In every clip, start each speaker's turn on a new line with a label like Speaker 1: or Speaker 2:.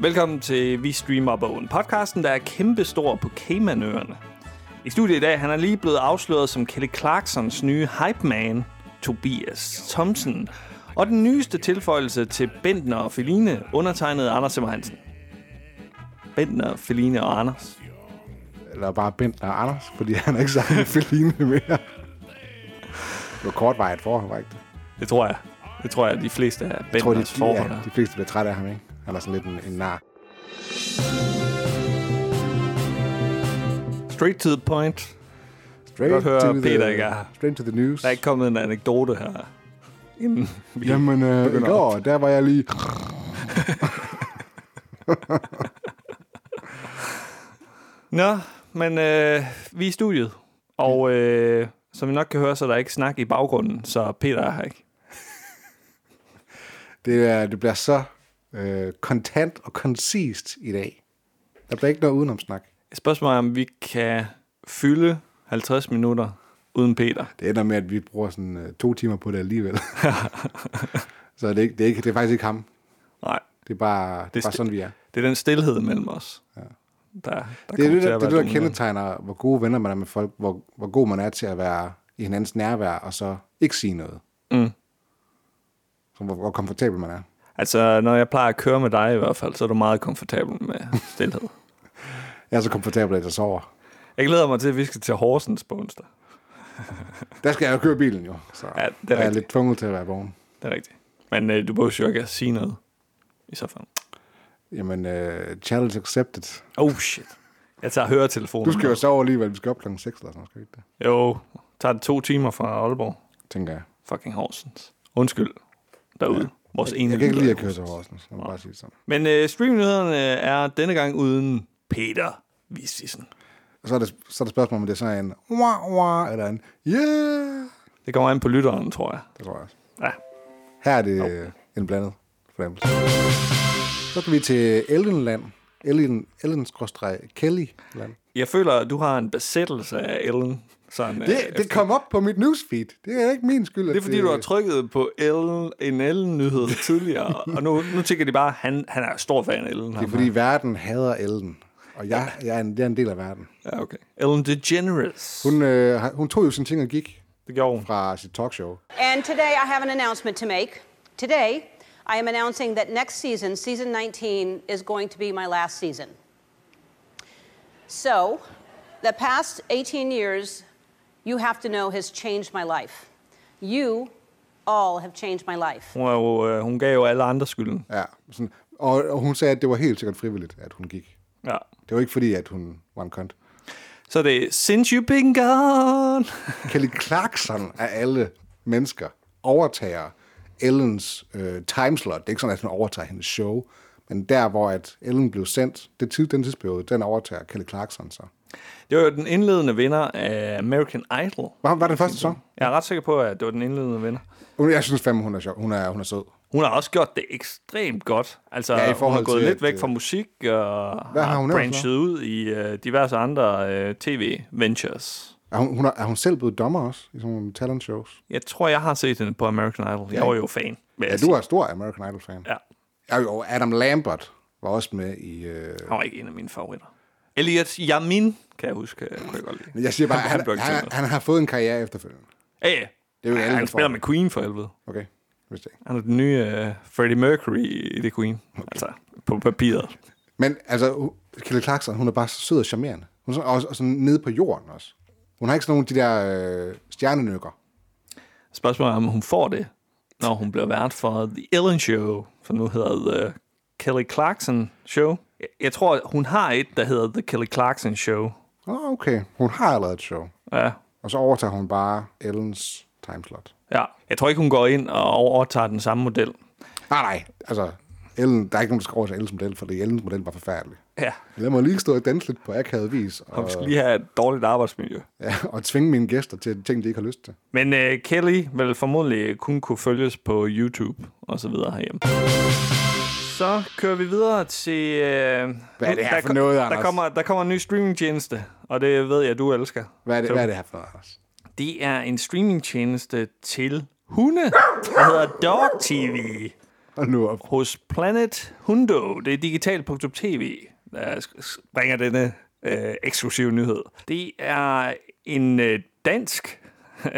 Speaker 1: Velkommen til Vi Streamer Bogen, podcasten, der er kæmpestor på Caymanøerne. I studiet i dag, han er lige blevet afsløret som Kelly Clarksons nye hype man, Tobias Thomsen. Og den nyeste tilføjelse til Bentner og Feline, undertegnet Anders Simmer Hansen. Bentner, Feline og Anders.
Speaker 2: Eller bare Bentner og Anders, fordi han er ikke sammen med Feline mere. Det var kort vej et forhold, var ikke det?
Speaker 1: Det tror jeg. Det tror jeg, de fleste af
Speaker 2: Jeg tror, de,
Speaker 1: Bentners forhold.
Speaker 2: de, ja, de fleste bliver trætte af ham, ikke? Han er sådan lidt en, en nar.
Speaker 1: Straight to the point.
Speaker 2: Straight
Speaker 1: Godt høre,
Speaker 2: to the-
Speaker 1: Peter ikke er her.
Speaker 2: Straight to the news.
Speaker 1: Der er ikke kommet en anekdote her. Inden vi...
Speaker 2: Jamen, øh, i
Speaker 1: begynder
Speaker 2: går, der var jeg lige...
Speaker 1: Nå, men øh, vi er i studiet. Og øh, som I nok kan høre, så er der ikke snak i baggrunden, så Peter er her ikke.
Speaker 2: Det, er, det bliver så øh, kontant og koncist i dag. Der bliver ikke noget udenomsnak.
Speaker 1: Spørgsmålet er, om vi kan fylde 50 minutter uden Peter.
Speaker 2: Det ender med, at vi bruger sådan øh, to timer på det alligevel. så det er, ikke, det, er ikke, det er faktisk ikke ham.
Speaker 1: Nej,
Speaker 2: Det er bare, det
Speaker 1: Det
Speaker 2: er
Speaker 1: er
Speaker 2: bare sådan, vi er.
Speaker 1: det er den stillhed mellem os. Ja. Der, der
Speaker 2: Det er
Speaker 1: kommer til
Speaker 2: det, der,
Speaker 1: at
Speaker 2: det, er
Speaker 1: være
Speaker 2: det, der
Speaker 1: dominerende.
Speaker 2: kendetegner, hvor gode venner man er med folk, hvor, hvor god man er til at være i hinandens nærvær, og så ikke sige noget.
Speaker 1: Mm.
Speaker 2: Så hvor, hvor komfortabel man er.
Speaker 1: Altså, når jeg plejer at køre med dig i hvert fald, så er du meget komfortabel med stillhed.
Speaker 2: Jeg er så komfortabel, at jeg sover.
Speaker 1: jeg glæder mig til, at vi skal til Horsens på onsdag.
Speaker 2: Der skal jeg jo køre bilen jo, så
Speaker 1: Ja, det er
Speaker 2: jeg er
Speaker 1: rigtigt.
Speaker 2: lidt tvunget til at være vågen.
Speaker 1: Det er rigtigt. Men øh, du behøver jo ikke at sige noget. I så fald.
Speaker 2: Jamen, uh, challenge accepted.
Speaker 1: Oh shit. Jeg tager høretelefonen.
Speaker 2: Du skal jo sove alligevel, vi skal op klokken 6 eller sådan noget, skal vi ikke det?
Speaker 1: Jo, tager det to timer fra Aalborg.
Speaker 2: Tænker jeg.
Speaker 1: Fucking Horsens. Undskyld derude. Ja. Vores ene
Speaker 2: Jeg kan
Speaker 1: lytter
Speaker 2: ikke lide
Speaker 1: er
Speaker 2: at køre til
Speaker 1: Horsens.
Speaker 2: Horsens, jeg må bare sige det sådan.
Speaker 1: Men øh, streamnyhederne er denne gang uden Peter Vistisen.
Speaker 2: Og så er, det, så er det spørgsmål, om det er sådan en wah, wah, eller en yeah,
Speaker 1: Det kommer an på lytteren, tror jeg.
Speaker 2: det tror jeg også.
Speaker 1: Ja.
Speaker 2: Her er det øh, en blandet fornemmelse. Så skal vi til Ellenland. Ellen, Ellen skråstreg Kelly. Land.
Speaker 1: Jeg føler, at du har en besættelse af Ellen. Sådan, øh,
Speaker 2: Det, det kom op på mit newsfeed. Det er ikke min skyld.
Speaker 1: det er fordi, du har trykket på Ellen, en Ellen-nyhed tidligere, og nu, nu tænker de bare, at han, han er stor fan af Ellen.
Speaker 2: Det er fordi, verden hader Ellen. Og jeg, jeg, er, en, jeg er en del af verden.
Speaker 1: Ja, okay. Ellen DeGeneres.
Speaker 2: Hun, øh, har- hun tog jo sine ting og gik
Speaker 1: Det gjorde hun.
Speaker 2: fra sit talkshow.
Speaker 3: And today I have an announcement to make. Today I am announcing that next season, season 19, is going to be my last season. So, the past 18 years, you have to know, has changed my life. You all have changed my life.
Speaker 1: Hun, er jo, øh, hun gav jo alle andre skylden.
Speaker 2: Ja, sådan, og, og hun sagde, at det var helt sikkert frivilligt, at hun gik.
Speaker 1: Ja.
Speaker 2: Det var ikke fordi, at hun var en kont.
Speaker 1: Så det er Since You've Been Gone.
Speaker 2: Kelly Clarkson af alle mennesker overtager Ellens øh, timeslot. Det er ikke sådan, at hun overtager hendes show, men der, hvor at Ellen blev sendt, det tid, den tidsperiode, den overtager Kelly Clarkson så.
Speaker 1: Det var jo den indledende vinder af American Idol.
Speaker 2: Var, var den første sæson?
Speaker 1: Jeg er ret sikker på, at det var den indledende vinder.
Speaker 2: Hun- Jeg synes fandme, hun er sjov. Hun er, hun er sød.
Speaker 1: Hun har også gjort det ekstremt godt. Altså,
Speaker 2: Ja, i
Speaker 1: ja, hun har
Speaker 2: forhold
Speaker 1: gået
Speaker 2: til,
Speaker 1: lidt
Speaker 2: at,
Speaker 1: væk
Speaker 2: øh,
Speaker 1: fra musik og
Speaker 2: Hvad har
Speaker 1: har
Speaker 2: hun ellers
Speaker 1: branchet ud i øh, diverse andre øh, tv-ventures.
Speaker 2: Er hun, hun er, er hun selv blevet dommer også i sådan nogle talent shows?
Speaker 1: Jeg tror, jeg har set hende på American Idol. Jeg
Speaker 2: Ja.
Speaker 1: var jo fan. vil
Speaker 2: Ja,
Speaker 1: jeg
Speaker 2: du
Speaker 1: sige.
Speaker 2: er stor American Idol-fan.
Speaker 1: Ja,
Speaker 2: Ja. Og Adam Lambert var også med i... Øh...
Speaker 1: han var ikke en af mine favoritter. Elliot Yamin, kan jeg huske. øh, Kunne jeg godt lide.
Speaker 2: Jeg siger bare, han,
Speaker 1: blev
Speaker 2: han,
Speaker 1: ikke til
Speaker 2: han,
Speaker 1: noget.
Speaker 2: han har fået en karriere efterfølgende.
Speaker 1: Ja, ja.
Speaker 2: er jo ikke alle, der
Speaker 1: han
Speaker 2: får
Speaker 1: spiller
Speaker 2: det.
Speaker 1: med Queen for helvede.
Speaker 2: Okay, hvis det ikke.
Speaker 1: Han er den nye uh, Freddie Mercury i The Queen. Okay. Altså, på papiret.
Speaker 2: Men altså, hu- Kelly Clarkson, hun er bare så sød og charmerende. Hun er sådan, også, og sådan nede på jorden også. Hun har ikke sådan nogle af de der øh, stjernenykker.
Speaker 1: Spørgsmålet er, om hun får det, når hun bliver vært for The Ellen Show, som nu hedder The Kelly Clarkson Show. Jeg- Jeg tror, hun har et, der hedder The Kelly Clarkson Show.
Speaker 2: Åh, okay. Hun har allerede et show.
Speaker 1: Ja,
Speaker 2: Og så overtager hun bare Ellens timeslot.
Speaker 1: ja. Jeg tror ikke, hun går ind og overtager den samme model.
Speaker 2: Nej, nej. Altså, Ellen, der er ikke nogen, der skal overtage Ellens model, fordi Ellens model var forfærdelig.
Speaker 1: Ja,
Speaker 2: Lad mig lige stå og danse lidt på akavet vis, og,
Speaker 1: hun skal lige have et dårligt arbejdsmiljø.
Speaker 2: ja, og tvinge mine gæster til ting, de ikke har lyst til.
Speaker 1: Men uh, Kelly vil formodentlig kun kunne følges på YouTube og så videre herhjemme. Så kører vi videre til... Uh,
Speaker 2: Hvad er det her for noget,
Speaker 1: der
Speaker 2: Anders?
Speaker 1: kommer, der kommer en ny streamingtjeneste, og det ved jeg, du elsker.
Speaker 2: Hvad er det,
Speaker 1: Så-
Speaker 2: hvad er det her for noget, Anders?
Speaker 1: Det er en streamingtjeneste til hunde, der hedder Dog TV.
Speaker 2: Hold nu op.
Speaker 1: hos Planet Hundo. Det er digital.tv, der sk- bringer denne øh, eksklusive nyhed. Det er en øh, dansk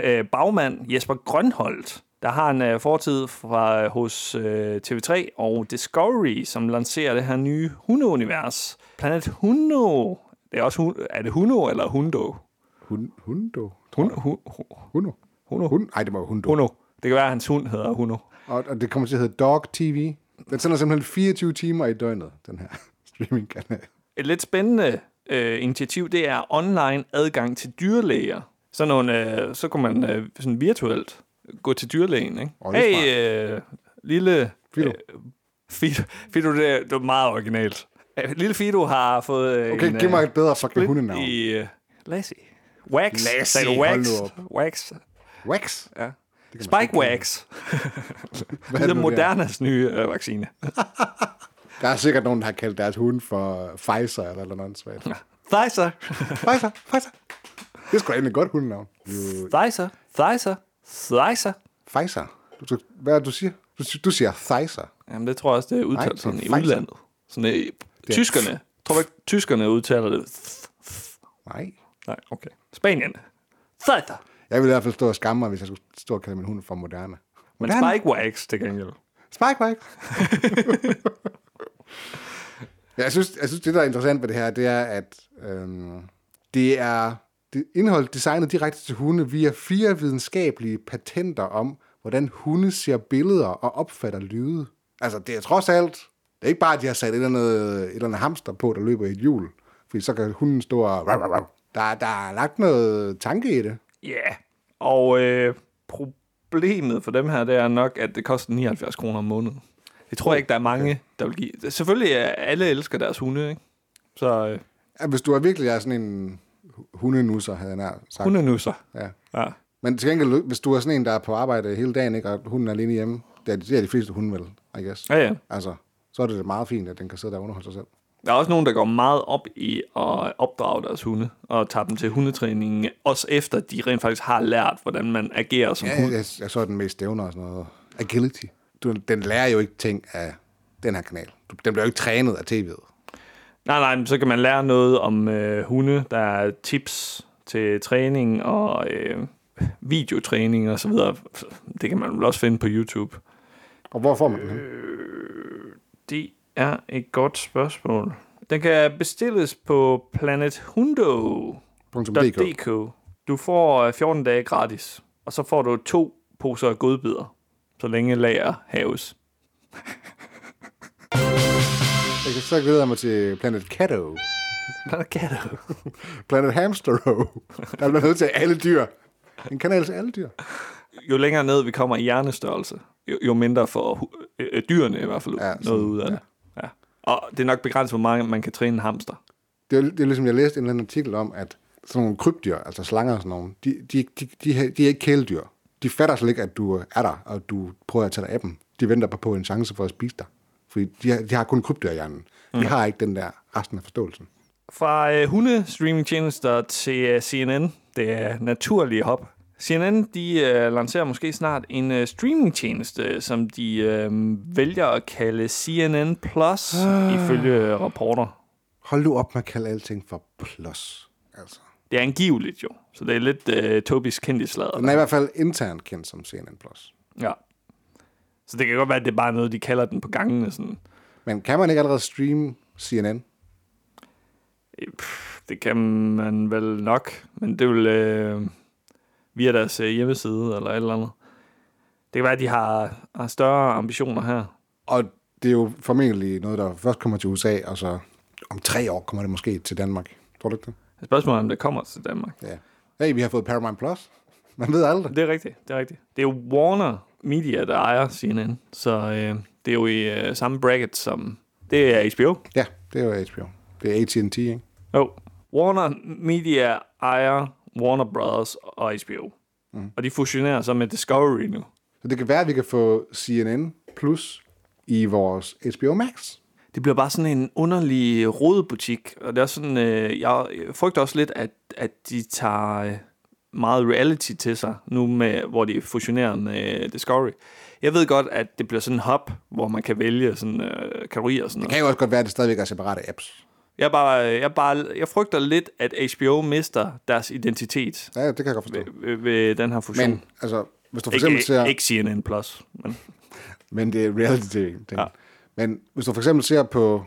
Speaker 1: øh, bagmand, Jesper Grønholdt, der har en øh, fortid fra øh, hos øh, TV3 og Discovery, som lancerer det her nye hundeunivers. Planet Hundo. Det er også hun, er det Hundo eller Hundo?
Speaker 2: Hun, hundo?
Speaker 1: Hun, hun, hun,
Speaker 2: Hundo?
Speaker 1: Hundo.
Speaker 2: Hun, nej, det var Hundo.
Speaker 1: Hundo. Det kan være, at hans hund hedder Hundo.
Speaker 2: Og, og det kommer til at hedde Dog TV. Den sender simpelthen 24 timer i døgnet, den her streamingkanal.
Speaker 1: Et lidt spændende øh, initiativ, det er online adgang til dyrlæger. Sådan nogle, øh, så kan man øh, sådan virtuelt gå til dyrlægen. Ikke?
Speaker 2: Åh, det er
Speaker 1: hey, øh, lille...
Speaker 2: Fido.
Speaker 1: Øh, Fido, Fido det, er, det er meget originalt. Øh, Lille Fido har fået øh,
Speaker 2: Okay,
Speaker 1: en...
Speaker 2: giv mig
Speaker 1: øh,
Speaker 2: et bedre fucking
Speaker 1: split
Speaker 2: hundenavn.
Speaker 1: I, øh, Lassie. Wax.
Speaker 2: Lassie,
Speaker 1: Sagde du
Speaker 2: hold
Speaker 1: wax?
Speaker 2: nu
Speaker 1: Wax.
Speaker 2: Wax?
Speaker 1: Ja. Spike Wax.
Speaker 2: Hvad
Speaker 1: det er
Speaker 2: det nu, det er?
Speaker 1: Modernas nye øh, vaccine.
Speaker 2: Der er sikkert nogen, der har kaldt deres hund for Pfizer eller noget andet svært.
Speaker 1: Thijser.
Speaker 2: Pfizer, Pfizer. Det er sgu da egentlig et godt hundenavn. Jo,
Speaker 1: Thijser. Thijser. Thijser.
Speaker 2: Pfizer. Du, du, hvad er det, du siger? Du, du siger Pfizer.
Speaker 1: Jamen, det tror jeg også, det er
Speaker 2: Nej, det
Speaker 1: udtalt
Speaker 2: er
Speaker 1: sådan i
Speaker 2: Pfizer.
Speaker 1: udlandet. Sådan i
Speaker 2: er-
Speaker 1: tyskerne. Tror du ikke, tyskerne udtaler det?
Speaker 2: Nej.
Speaker 1: Nej, okay. Spanien. Theta.
Speaker 2: Jeg ville i hvert fald stå og skamme mig, hvis jeg skulle stå og kalde min hund for Moderna.
Speaker 1: Men
Speaker 2: Moderna.
Speaker 1: Spike Wax til gengæld.
Speaker 2: Spike Mike. ja, jeg, synes, jeg synes, det der er interessant ved det her, det er, at øhm, det er det er indhold designet direkte til hunde via fire videnskabelige patenter om, hvordan hunde ser billeder og opfatter lyde. Altså, det er trods alt, det er ikke bare, at de har sat et eller andet, et eller andet hamster på, der løber i et hjul, fordi så kan hunden stå og... Der, der er lagt noget tanke i det.
Speaker 1: Ja. Yeah. Og øh, problemet for dem her, det er nok, at det koster 79 kroner om måneden. Det
Speaker 2: Oh,
Speaker 1: tror jeg ikke, der er mange, der vil give. Selvfølgelig er alle elsker deres hunde, ikke? Så øh,
Speaker 2: Ja, Hvis du er virkelig er sådan en hundenusser, havde jeg nær sagt.
Speaker 1: hundenusser.
Speaker 2: Ja.
Speaker 1: Ja.
Speaker 2: Men til gengæld, hvis du er sådan en, der er på arbejde hele dagen, ikke, og hunden er alene hjemme, det er, det er de fleste hunde vel, I guess.
Speaker 1: Ja, ja.
Speaker 2: Altså, så er det da meget fint, at den kan sidde der og underholde sig selv.
Speaker 1: Der er også nogen, der går meget op i at opdrage deres hunde, og tager dem til hundetræning, også efter de rent faktisk har lært, hvordan man agerer som
Speaker 2: Ja,
Speaker 1: hund.
Speaker 2: jeg, jeg, jeg så den mest stævner og sådan noget. Agility. Du, den lærer jo ikke ting af den her kanal. Du, den bliver jo ikke trænet af tv'et.
Speaker 1: Nej, nej, men så kan man lære noget om øh, hunde. Der er tips til træning og øh, videotræning og så videre. Det kan man vel også finde på YouTube.
Speaker 2: Og hvor får man den hen?
Speaker 1: Det er et godt spørgsmål. Den kan bestilles på planethundo.dk.
Speaker 2: .dk.
Speaker 1: Du får øh, 14 dage gratis, og så får du to poser godbidder, så længe lager haves.
Speaker 2: Jeg kan så glæde mig til Planet Catto.
Speaker 1: Planet Gatto.
Speaker 2: Planet Hamstero. Der bliver nødt til alle dyr. En kanal til alle dyr.
Speaker 1: jo længere ned vi kommer i hjernestørrelse, jo, jo mindre får hu- øh, øh, dyrene i hvert fald ja,
Speaker 2: Ja,
Speaker 1: noget
Speaker 2: sådan,
Speaker 1: ud af ja. det. Ja. Og det er nok begrænset, hvor meget man kan træne en hamster.
Speaker 2: det er, det er ligesom, jeg læste en eller anden artikel om, at sådan nogle krybdyr, altså slanger og sådan nogle, de, de, de, de, har- de er ikke kæledyr. De fatter slet ikke, at du er der, og du prøver at tage dig af dem. De venter bare på en chance for at spise dig. Fordi de har, de har kun krybdyrhjernen. De har ikke den der resten af forståelsen.
Speaker 1: Fra øh, hundestreamingtjenester til øh, CNN, det er naturlige hop. CNN de øh, lancerer måske snart en øh, streamingtjeneste, som de øh, vælger at kalde CNN Plus, ifølge øh, rapporter.
Speaker 2: Hold nu op med at kalde alting for plus. Altså.
Speaker 1: Det er angiveligt jo, så det er lidt øh, Tobis kendislader.
Speaker 2: Den er i hvert fald internt kendt som CNN+. Plus.
Speaker 1: Ja. Så det kan godt være, at det er bare noget, de kalder den på gangene. Sådan.
Speaker 2: Men kan man ikke allerede streame CNN?
Speaker 1: Pff, Det kan man vel nok, men det vil øh, via deres øh, hjemmeside eller et eller andet. Det kan være, at de har, har større ambitioner her.
Speaker 2: Og det er jo formentlig noget, der først kommer til USA, og så om tre år kommer det måske til Danmark. Tror du ikke det?
Speaker 1: Spørgsmålet er, om det kommer til Danmark.
Speaker 2: Ja. Hey, vi har fået Paramount Plus. Man ved aldrig.
Speaker 1: Det er rigtigt, det er rigtigt. Det er jo Warner Media, der ejer CNN, så øh, det er jo i øh, samme bracket som... Det er HBO.
Speaker 2: Ja, det er jo HBO. Det er AT&T, ikke?
Speaker 1: Jo. Warner Media ejer Warner Brothers og HBO. Mm. Og de fusionerer så med Discovery nu.
Speaker 2: Så det kan være, at vi kan få CNN Plus i vores HBO Max.
Speaker 1: Det bliver bare sådan en underlig rodebutik, og det er også sådan, øh, jeg frygter også lidt, at, at de tager øh, meget reality til sig, nu med, hvor de fusionerer med øh, Discovery. Jeg ved godt, at det bliver sådan en hub, hvor man kan vælge sådan, øh, kategorier og sådan
Speaker 2: Det
Speaker 1: noget.
Speaker 2: kan jo også godt være, at det stadigvæk er separate apps.
Speaker 1: Jeg, er bare, øh, jeg, er bare, jeg frygter lidt, at HBO mister deres identitet
Speaker 2: Ja, det kan jeg godt forstå.
Speaker 1: ved, ved den her fusion.
Speaker 2: Men altså, hvis du for
Speaker 1: ikke,
Speaker 2: eksempel ser...
Speaker 1: ikke CNN+. Plus, men
Speaker 2: Men det er reality tv. Den.
Speaker 1: Ja.
Speaker 2: Ja. Men hvis du for eksempel ser på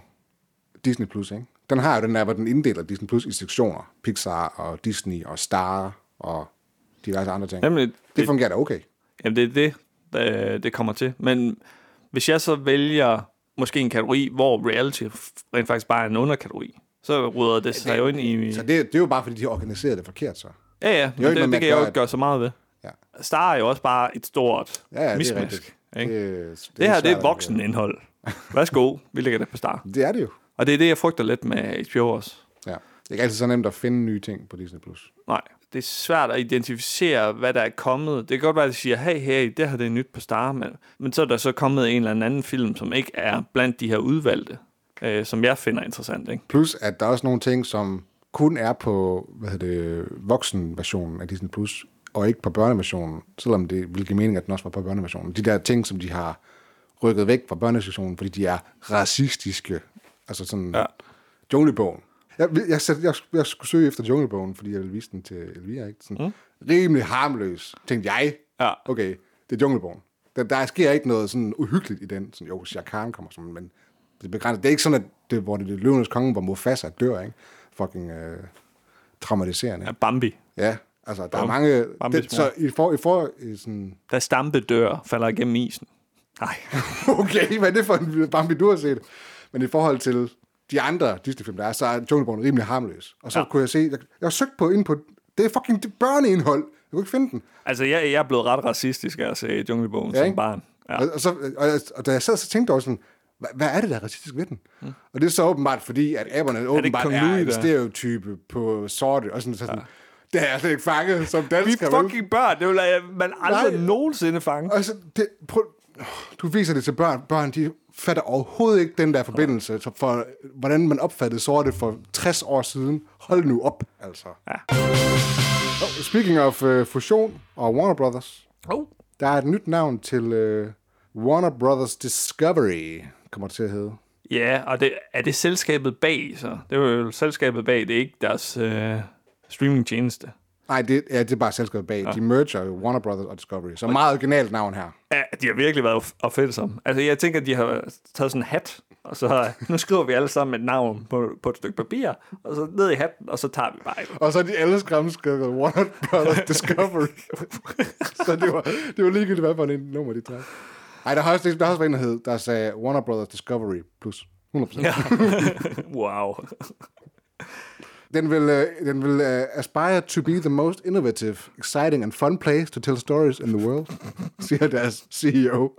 Speaker 2: Disney+, Plus, ikke? den har jo den der, hvor den inddeler Disney Plus i sektioner. Pixar og Disney og Star og diverse andre ting.
Speaker 1: Jamen,
Speaker 2: Jamen,
Speaker 1: det-
Speaker 2: det, det fungerer da okay.
Speaker 1: Jamen, det er det, der- det kommer til. Men hvis jeg så vælger måske en kategori, hvor reality f- rent faktisk bare er en underkategori, så rydder det sig jo ind i...
Speaker 2: Så det, det er jo bare, fordi de har organiseret det forkert, så.
Speaker 1: Ja, ja, men
Speaker 2: ikke
Speaker 1: det,
Speaker 2: noget,
Speaker 1: det
Speaker 2: man
Speaker 1: kan jeg jo
Speaker 2: gør,
Speaker 1: ikke gøre så meget ved.
Speaker 2: Ja,
Speaker 1: Star er jo også bare et stort
Speaker 2: ja, ja det er
Speaker 1: mismask.
Speaker 2: rigtigt.
Speaker 1: Ikke? Det,
Speaker 2: er-
Speaker 1: det her, det er
Speaker 2: svært at-
Speaker 1: voksenindhold. Værsgo, vi lægger det på Star.
Speaker 2: Det er det jo.
Speaker 1: Og det er det, jeg frygter lidt med HBO også.
Speaker 2: Ja. Det er ikke altid så nemt at finde nye ting på Disney+. Plus.
Speaker 1: Nej, det er svært at identificere, hvad der er kommet. Det kan godt være, at de siger, hey, hey, det her det er nyt på Star, men, men så er der så kommet en eller anden film, som ikke er blandt de her udvalgte, øh, som jeg finder interessant. Ikke?
Speaker 2: Plus, at der er også nogle ting, som kun er på hvad hedder det, voksenversionen af Disney+, Plus, og ikke på børneversionen, selvom det ville give mening, at den også var på børneversionen. De der ting, som de har rykket væk fra børnesektionen, fordi de er racistiske. Altså sådan
Speaker 1: Ja.
Speaker 2: ja. junglebogen. Jeg, vil- jeg, satte, jeg, jeg skulle søge efter junglebogen, fordi jeg ville vise den til Elvira. Ikke? Sådan, mm. Rimelig harmløs, tænkte jeg.
Speaker 1: Ja.
Speaker 2: Okay, det er junglebogen. Der, der sker ikke noget sådan uhyggeligt i den. Sådan, jo, Shere Khan kommer sådan, men det er begrænset. Det er ikke sådan, at det, hvor det er løvenes konge, hvor Mufasa dør, ikke? Fucking øh, traumatiserende.
Speaker 1: Ja, Bambi,
Speaker 2: Ja, altså, der er
Speaker 1: Bam-
Speaker 2: mange...
Speaker 1: Bambis
Speaker 2: Det, så I får, I får øh, sådan...
Speaker 1: der stampe dør falder igennem isen. Nej,
Speaker 2: Okay, hvad er det for en Bambi, du har set? Men i forhold til de andre Disney-film, der er, så er Junglebogen rimelig harmløs. Og så
Speaker 1: Ja.
Speaker 2: ja. kunne jeg se... Jeg, jeg har søgt på ind på... Det er fucking det børneindhold. Jeg kunne ikke finde den.
Speaker 1: altså jeg, jeg er blevet ret racistisk af at se Junglebogen ja, som
Speaker 2: ikke?
Speaker 1: barn. Ja.
Speaker 2: Og, og, så, og, jeg- og da jeg sad, så tænkte jeg også sådan, "Hva- hvad er det, der er racistisk ved den? Mm. Og det er så åbenbart, fordi at aberne åbenbart
Speaker 1: Kong
Speaker 2: er,
Speaker 1: Louis,
Speaker 2: en
Speaker 1: der-
Speaker 2: stereotype på sorte, og sådan, så sådan, det har jeg slet ikke fanget som
Speaker 1: Vi
Speaker 2: dansker.
Speaker 1: er
Speaker 2: vel?"
Speaker 1: fucking børn, det vil jeg, man aldrig Nej.
Speaker 2: Nej.
Speaker 1: nogensinde fange.
Speaker 2: Altså, det, prøv, du viser det til børn. Børn, de fatter overhovedet ikke den der forbindelse okay. for, hvordan man opfattede sorte for 60 år siden. Hold nu op, altså.
Speaker 1: Ja.
Speaker 2: Oh, Speaking of uh, fusion og Warner Brothers,
Speaker 1: Oh.
Speaker 2: der er et nyt navn til uh, Warner Brothers Discovery, kommer det til at hedde.
Speaker 1: Ja, og det, er det selskabet bag så? Det er jo selskabet bag, det er ikke deres øh, streamingtjeneste.
Speaker 2: Nej, det, ja, det er bare selskabet bag. Ja. De merger jo Warner Brothers og Discovery. Så meget originalt navn her.
Speaker 1: Ja, de har virkelig været of- opfindsomme. Altså, jeg tænker, at de har taget sådan en hat, og så nu skriver vi alle sammen et navn på, på et stykke papir, og så ned i hatten, og så tager vi bare et.
Speaker 2: Og så er de alle skræmmeskrevet Warner Brothers Discovery. så det var, det var ligegyldigt, hvad for en nummer de trak. Ej, der har også, der har også været en, der, hed, der sagde Warner Brothers Discovery Plus. 100%. Ja.
Speaker 1: Wow.
Speaker 2: Den vil, øh, den vil uh, aspire to be the most innovative, exciting and fun place to tell stories in the world, siger deres CEO.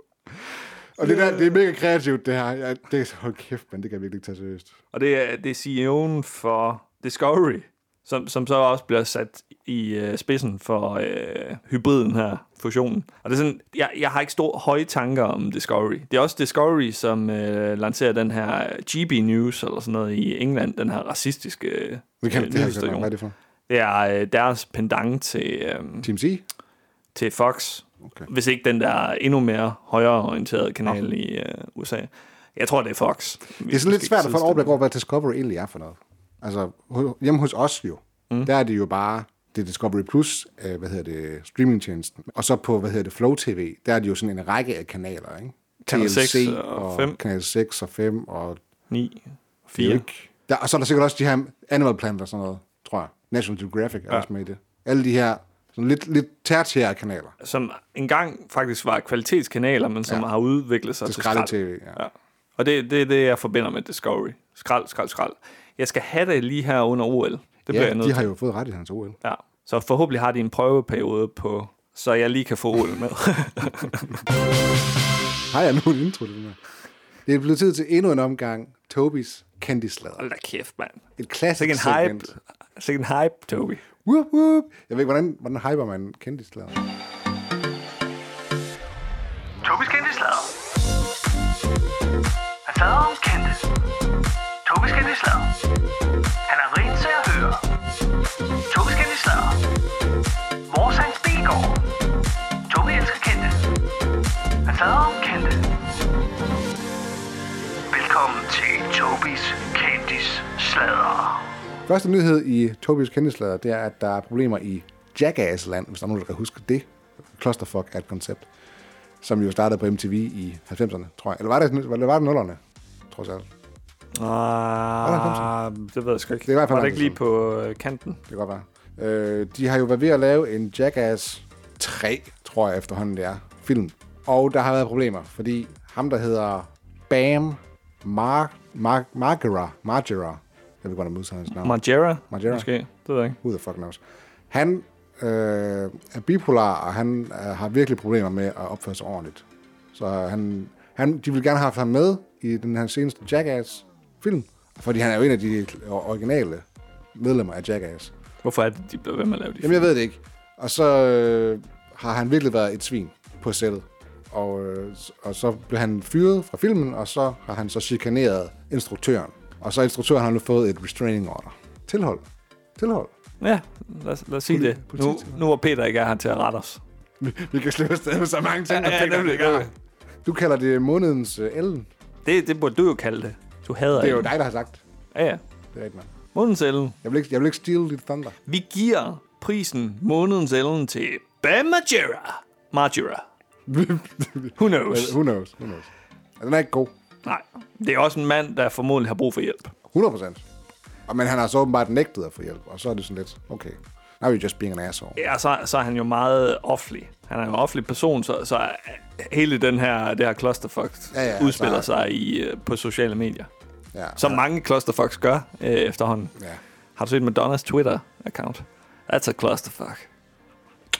Speaker 2: Og det, der, det er mega kreativt, det her. Ja, det, hold kæft, men det kan jeg virkelig ikke tage seriøst.
Speaker 1: Og det er, det er CEO'en for Discovery, som, som så også bliver sat i øh, spidsen for øh, hybriden her, fusionen. Og det er sådan, jeg, jeg har ikke store høje tanker om Discovery. Det er også Discovery, som øh, lancerer den her GB News eller sådan noget i England, den her racistiske øh,
Speaker 2: Det kan, det har jeg ikke hørt
Speaker 1: nyhedsstation.
Speaker 2: om. Hvad er det for?
Speaker 1: Det er øh, deres pendant til, øh,
Speaker 2: Team C?
Speaker 1: til Fox. Okay.
Speaker 2: Okay.
Speaker 1: Hvis ikke den der endnu mere højreorienterede kanal okay. i øh, USA. Jeg tror, det er Fox.
Speaker 2: Det er sådan lidt svært at få et overblik over, hvad Discovery egentlig er for noget. Altså, ho- hjemme hos os jo, mm. der er det jo bare, det er Discovery Plus, øh, hvad hedder det, streamingtjenesten. Og så på, hvad hedder det, Flow TV, der er det jo sådan en række af kanaler, ikke?
Speaker 1: Kanal
Speaker 2: TLC
Speaker 1: seks og fem.
Speaker 2: Kanal 6 og 5 og
Speaker 1: 9, 4.
Speaker 2: Dirk. Der, og så er der sikkert også de her Animal Planet og sådan noget, tror jeg. National Geographic er
Speaker 1: Ja.
Speaker 2: ja. også med i det. Alle de her sådan lidt, lidt tertiære kanaler.
Speaker 1: Som engang faktisk var kvalitetskanaler, men som ja.
Speaker 2: Ja.
Speaker 1: har udviklet sig
Speaker 2: Til
Speaker 1: til
Speaker 2: skralde
Speaker 1: skrald.
Speaker 2: TV, ja.
Speaker 1: Ja. Og det er det, er det, jeg forbinder med Discovery. Skrald, skrald, skrald. Jeg skal have det lige her under OL. Det bliver jeg
Speaker 2: Ja,
Speaker 1: nødt
Speaker 2: de
Speaker 1: til.
Speaker 2: har jo fået ret i hans OL.
Speaker 1: Ja. Så forhåbentlig har de en prøveperiode på, så jeg lige kan få OL med.
Speaker 2: Har jeg nogen intro til den her? Det er blevet tid til endnu en omgang Tobis Candyslader.
Speaker 1: Hold da kæft, mand.
Speaker 2: Et klassisk
Speaker 1: Sikke en hype.
Speaker 2: segment.
Speaker 1: Sikke en hype, Toby.
Speaker 2: Whoop, whoop. Jeg ved ikke, hvordan, hvordan hyper man kendtislader?
Speaker 4: Tobis kendte slader. Han slader om kendte. Tobis kendte slader. Han er rent til at høre. Tobis kendte slader. i går. Tobi elsker kendte. Han fader om kendte. Velkommen til Tobis Kendis Sladder.
Speaker 2: Første nyhed i Tobias kendeslader, det er, at der er problemer i Jackass-land, hvis der er nogen, der kan huske det. Clusterfuck er et koncept, som jo startede på MTV i 90'erne, tror jeg. Eller var det, eller var det 0'erne, tror jeg. Det
Speaker 1: Ah, det ved jeg sgu ikke.
Speaker 2: Det er i hvert fald
Speaker 1: var det ikke lige
Speaker 2: lang tid
Speaker 1: på øh, kanten?
Speaker 2: kan godt være. Øh, de har jo været ved at lave en Jackass 3, tror jeg efterhånden det er, film. Og der har været problemer, fordi ham, der hedder Bam Mar Mar Margera, Margera, jeg ved godt, om udtaler hans navn.
Speaker 1: Margera?
Speaker 2: Margera.
Speaker 1: Måske, det ved jeg ikke.
Speaker 2: Who the fuck knows? Han øh, er bipolar, og han øh, har virkelig problemer med at opføre sig ordentligt. Så han, han, de vil gerne have haft ham med i den her seneste Jackass-film, fordi han er jo en af de originale medlemmer af Jackass.
Speaker 1: Hvorfor er det, de bliver ved med at lave de
Speaker 2: Jamen, jeg ved det ikke. Og så øh, har han virkelig været et svin på sættet. Og, øh, og så blev han fyret fra filmen, og så har han så chikaneret instruktøren. Og så har instruktøren har nu fået et restraining order. Tilhold. Tilhold.
Speaker 1: Ja, lad os, lad os sige
Speaker 2: Poli-
Speaker 1: det. Nu,
Speaker 2: politi-
Speaker 1: nu var Peter ikke er her til at rette os.
Speaker 2: Vi kan slippe afsted med så mange ting.
Speaker 1: Ja, ja,
Speaker 2: og
Speaker 1: nemlig,
Speaker 2: tænker,
Speaker 1: nemlig.
Speaker 2: Du kalder det månedens øh, Ellen.
Speaker 1: Det, det burde du jo kalde det. Du hader
Speaker 2: Det er jo
Speaker 1: det.
Speaker 2: dig, der har sagt.
Speaker 1: Ja, ja.
Speaker 2: Det er rigtigt, mand.
Speaker 1: Månedens Ellen.
Speaker 2: Jeg vil ikke, jeg vil ikke steal dit thunder.
Speaker 1: Vi giver prisen Månedens Ellen til Bam Margera. Margera. Who knows?
Speaker 2: Well, Who knows? Who knows? Altså, Den er ikke god.
Speaker 1: Nej, det er også en mand, der formodentlig har brug for hjælp.
Speaker 2: 100 procent. Men han har så åbenbart nægtet at få hjælp, og så er det sådan lidt, okay, now you're just being an asshole.
Speaker 1: Ja, så, så er han jo meget offentlig. Han er jo en offentlig person, så, så er- hele den her, det her clusterfuck ja,
Speaker 2: Ja,
Speaker 1: ja,
Speaker 2: ja,
Speaker 1: udspiller
Speaker 2: altså-
Speaker 1: sig i, øh, på sociale medier.
Speaker 2: Ja.
Speaker 1: Som mange clusterfucks gør øh, efterhånden.
Speaker 2: Ja.
Speaker 1: Har du set Madonnas Twitter-account? That's a clusterfuck.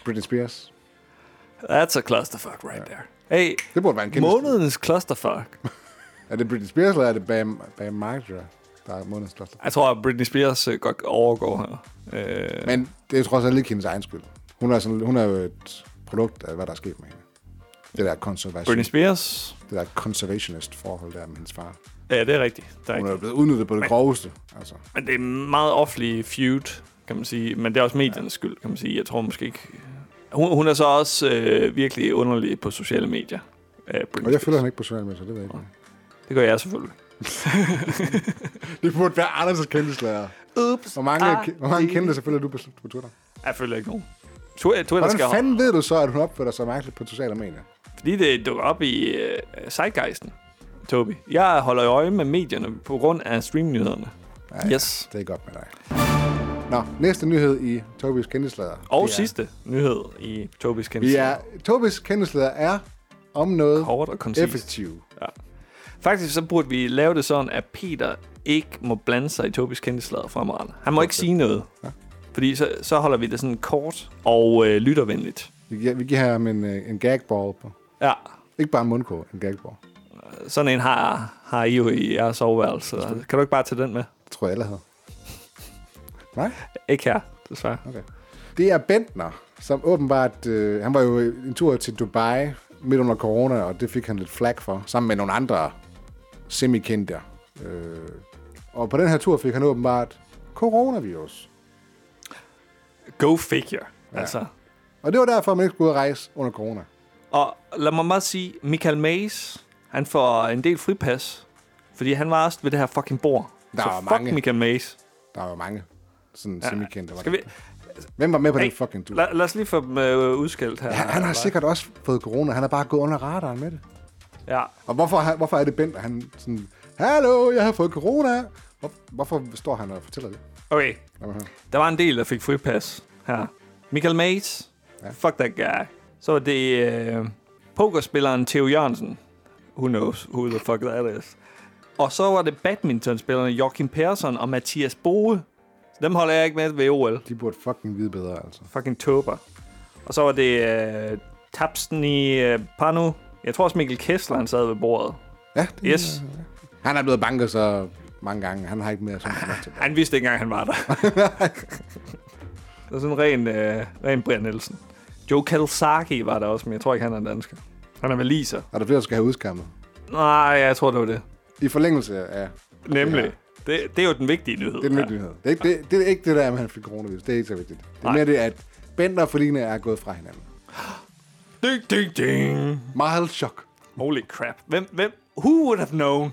Speaker 2: Britney Spears.
Speaker 1: That's a clusterfuck right there. Hey,
Speaker 2: Det burde være en kæmpe...
Speaker 1: månedens clusterfuck.
Speaker 2: Er det Britney Spears, eller er det Bam, Bam Margera, der er månedens kloster?
Speaker 1: Jeg tror, at Britney Spears øh, godt overgår her. Øh,
Speaker 2: Men det er trods alt ikke hendes egen skyld. Hun er, sådan, hun er jo et produkt af, hvad der er sket med hende. Det der, conservation,
Speaker 1: Britney Spears?
Speaker 2: det der conservationist forhold der med hendes far.
Speaker 1: Ja, det er rigtigt. Det er
Speaker 2: Hun er jo
Speaker 1: rigtigt.
Speaker 2: blevet udnyttet på det groveste. Altså.
Speaker 1: Men det er en meget offentlig feud, kan man sige. Men det er også mediernes skyld, kan man sige. Jeg tror måske ikke... Hun, hun er så også øh, virkelig underlig på sociale medier. Øh, Britney
Speaker 2: Og jeg
Speaker 1: Spears.
Speaker 2: følger hende ikke på sociale medier, det ved jeg ikke.
Speaker 1: Det gør jeg selvfølgelig.
Speaker 2: Det burde være Anders' kendtislager.
Speaker 1: Ups.
Speaker 2: Hvor mange, ah, hvor mange kendte følger du på, på Twitter?
Speaker 1: Jeg følger ikke nogen. Twi- Twitter skal
Speaker 2: Hvordan
Speaker 1: fand?
Speaker 2: fanden ved du så, at hun opfører sig mærkeligt på sociale medier?
Speaker 1: Fordi det dukker op i øh, zeitgeisten, Tobi. Jeg holder øje med medierne på grund af streamnyhederne.
Speaker 2: ja.
Speaker 1: Yes.
Speaker 2: Det er godt med dig. Nå, næste nyhed i Tobis kendtislader.
Speaker 1: Og sidste nyhed i Tobis kendelse.
Speaker 2: Vi er, Tobis kendtislader er om noget
Speaker 1: Kort og koncist.
Speaker 2: effektiv.
Speaker 1: Faktisk så burde vi lave det sådan, at Peter ikke må blande sig i Tobis kendeslader fremadrettet. Han må ikke sige noget. Ja. Fordi så, så holder vi det sådan kort og øh, lyttervenligt.
Speaker 2: Vi giver, vi giver ham en, øh, en gagball på.
Speaker 1: Ja,
Speaker 2: Ikke bare en mundkurv, en gagball.
Speaker 1: sådan en har, har I jo i jeres soveværelse. Kan du ikke bare tage den med?
Speaker 2: Det tror jeg, alle havde. Nej?
Speaker 1: Ikke her, desværre.
Speaker 2: Okay. Det er Bentner, som åbenbart... Øh, han var jo en tur til Dubai midt under corona, og det fik han lidt flag for, sammen med nogle andre semikendte. Øh, og på den her tur fik han åbenbart coronavirus.
Speaker 1: Go figure. Ja. Altså.
Speaker 2: Og det var derfor, man ikke skulle ud og rejse under corona.
Speaker 1: Og lad mig bare sige, Michael Mays, han får en del fripas. Fordi han var også ved det her fucking bord. så
Speaker 2: Der var
Speaker 1: fuck
Speaker 2: mange.
Speaker 1: Michael Mays.
Speaker 2: Der var jo mange sådan ja, semikendte.
Speaker 1: Skal vi...
Speaker 2: Hvem var med på hey,
Speaker 1: Hey,
Speaker 2: den fucking tur?
Speaker 1: lad, lad os lige få dem øh, udskilt her.
Speaker 2: Han, han har sikkert også fået corona. Han har bare gået under radaren med det.
Speaker 1: Ja.
Speaker 2: Og hvorfor, har- hvorfor er det Bent, at han sådan... Hallo, jeg har fået corona. Hvor, hvorfor står han og fortæller det?
Speaker 1: Okay,
Speaker 2: Lad mig høre.
Speaker 1: Der var en del, der fik fripas her. Michael Mays. Ja. Fuck that guy. Så var det øh, pokerspilleren Theo Jørgensen. Who knows who the fuck that is. Og så var det badmintonspillerne Joachim Persson og Mathias Boe. Dem holder jeg ikke med ved OL.
Speaker 2: De burde fucking vide bedre, altså.
Speaker 1: Fucking tåber. Og så var det øh, Tapsen i øh, Panu. Jeg tror også Mikkel Kessler, han sad ved bordet.
Speaker 2: Ja, det,
Speaker 1: Yes.
Speaker 2: han er blevet banket så mange gange. Han har ikke mere sådan noget tilbage.
Speaker 1: Han vidste ikke engang, han var der. det er sådan en ren, øh, ren Brian Nielsen. Joe Kalsaki var der også, men jeg tror ikke, han er dansker. Han er valiser.
Speaker 2: Er der flere, der skal have udskammet?
Speaker 1: Nej, jeg tror, det var det.
Speaker 2: I forlængelse af...
Speaker 1: Nemlig.
Speaker 2: Ja.
Speaker 1: Det, det er jo den vigtige nyhed.
Speaker 2: Det er den vigtige nyhed. Det er, ikke, det, det er ikke det der, med, at han fik coronavirus. Det er ikke så vigtigt. Det er mere det, at Bender og Feline er gået fra hinanden.
Speaker 1: Ding, ding, ding.
Speaker 2: Meget chok.
Speaker 1: Holy crap. Hvem, hvem? Who would have known?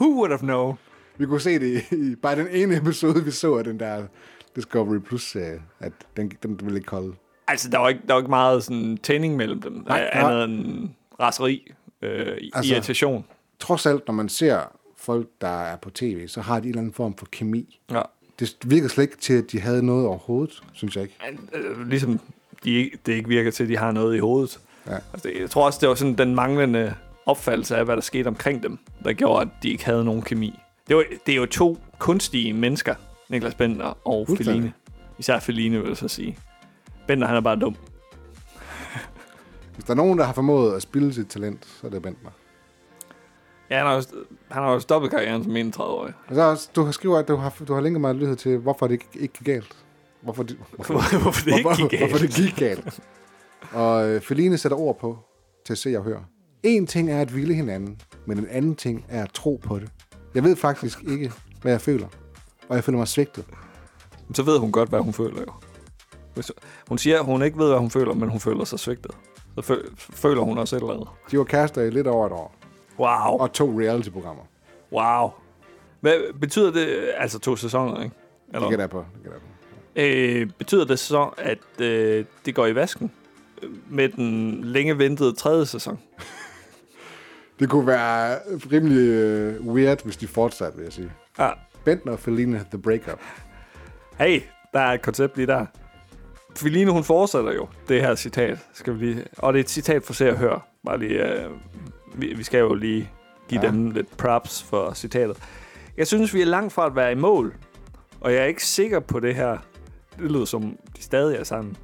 Speaker 1: Who would have known?
Speaker 2: Vi kunne se det i, i bare den ene episode, vi så af den der Discovery Plus-serie, at den, den ville ikke holde.
Speaker 1: Altså, der var ikke, der var ikke meget sådan, tænding mellem dem. Nej,
Speaker 2: nej.
Speaker 1: andet end raseri, øh, altså,
Speaker 2: Altså-
Speaker 1: irritation.
Speaker 2: Trods alt, når man ser folk, der er på tv, så har de en eller anden form for kemi.
Speaker 1: Ja.
Speaker 2: Det virker slet ikke til, at de havde noget overhovedet, synes jeg ikke.
Speaker 1: Øh, ligesom de, ikke- det ikke virker til, at de har noget i hovedet.
Speaker 2: Ja.
Speaker 1: Altså, det, jeg tror også, det var sådan den manglende opfattelse af, hvad der skete omkring dem, der gjorde, at de ikke havde nogen kemi. Det, var, det er jo to kunstige mennesker, Niklas Bender og
Speaker 2: Fuldstændig.
Speaker 1: Feline. Især Feline, vil jeg så sige. Bender, han er bare dum.
Speaker 2: Hvis der er nogen, der har formået at spille sit talent, så er det Bender.
Speaker 1: Ja, han har jo, st- han har jo stoppet karrieren som 31-årig.
Speaker 2: Og så Altså, også, du har skriver, at du har, du har længe meget lyttet til, hvorfor det ikke, ikke gik galt. Hvorfor det, hvorfor,
Speaker 1: Hvorfor det ikke gik
Speaker 2: Hvorfor
Speaker 1: galt?
Speaker 2: det gik galt. Og øh, Feline sætter ord på til at se og høre. En ting er at ville hinanden, men en anden ting er at tro på det. Jeg ved faktisk ikke, hvad jeg føler. Og jeg føler mig svigtet.
Speaker 1: Så ved hun godt, hvad hun føler jo. Hvis- Hun siger, at hun ikke ved, hvad hun føler, men hun føler sig svigtet. Så føl- føler hun også et eller andet.
Speaker 2: De var kærester i lidt over et år.
Speaker 1: Wow.
Speaker 2: Og to reality-programmer.
Speaker 1: Wow. Hvad betyder det, altså to sæsoner, ikke?
Speaker 2: Det gætter
Speaker 1: Eller,
Speaker 2: jeg på. Det gætter jeg på.
Speaker 1: øh, betyder det så, at øh, det går i vasken øh, med den længe ventede tredje sæson?
Speaker 2: Det kunne være rimelig øh, weird, hvis de fortsatte, vil jeg sige.
Speaker 1: Ja.
Speaker 2: Bentner og Feline, The Breakup.
Speaker 1: Hey, der er et koncept lige der. Feline, hun fortsætter jo det her citat, skal vi lige... Og det er et citat for Se og Hør. Bare lige, øh, vi, vi skal jo lige give ja.
Speaker 2: Ja.
Speaker 1: dem lidt props for citatet. Jeg synes, vi er langt fra at være i mål, og jeg er ikke sikker på det her. Det lyder som, de stadig er sammen.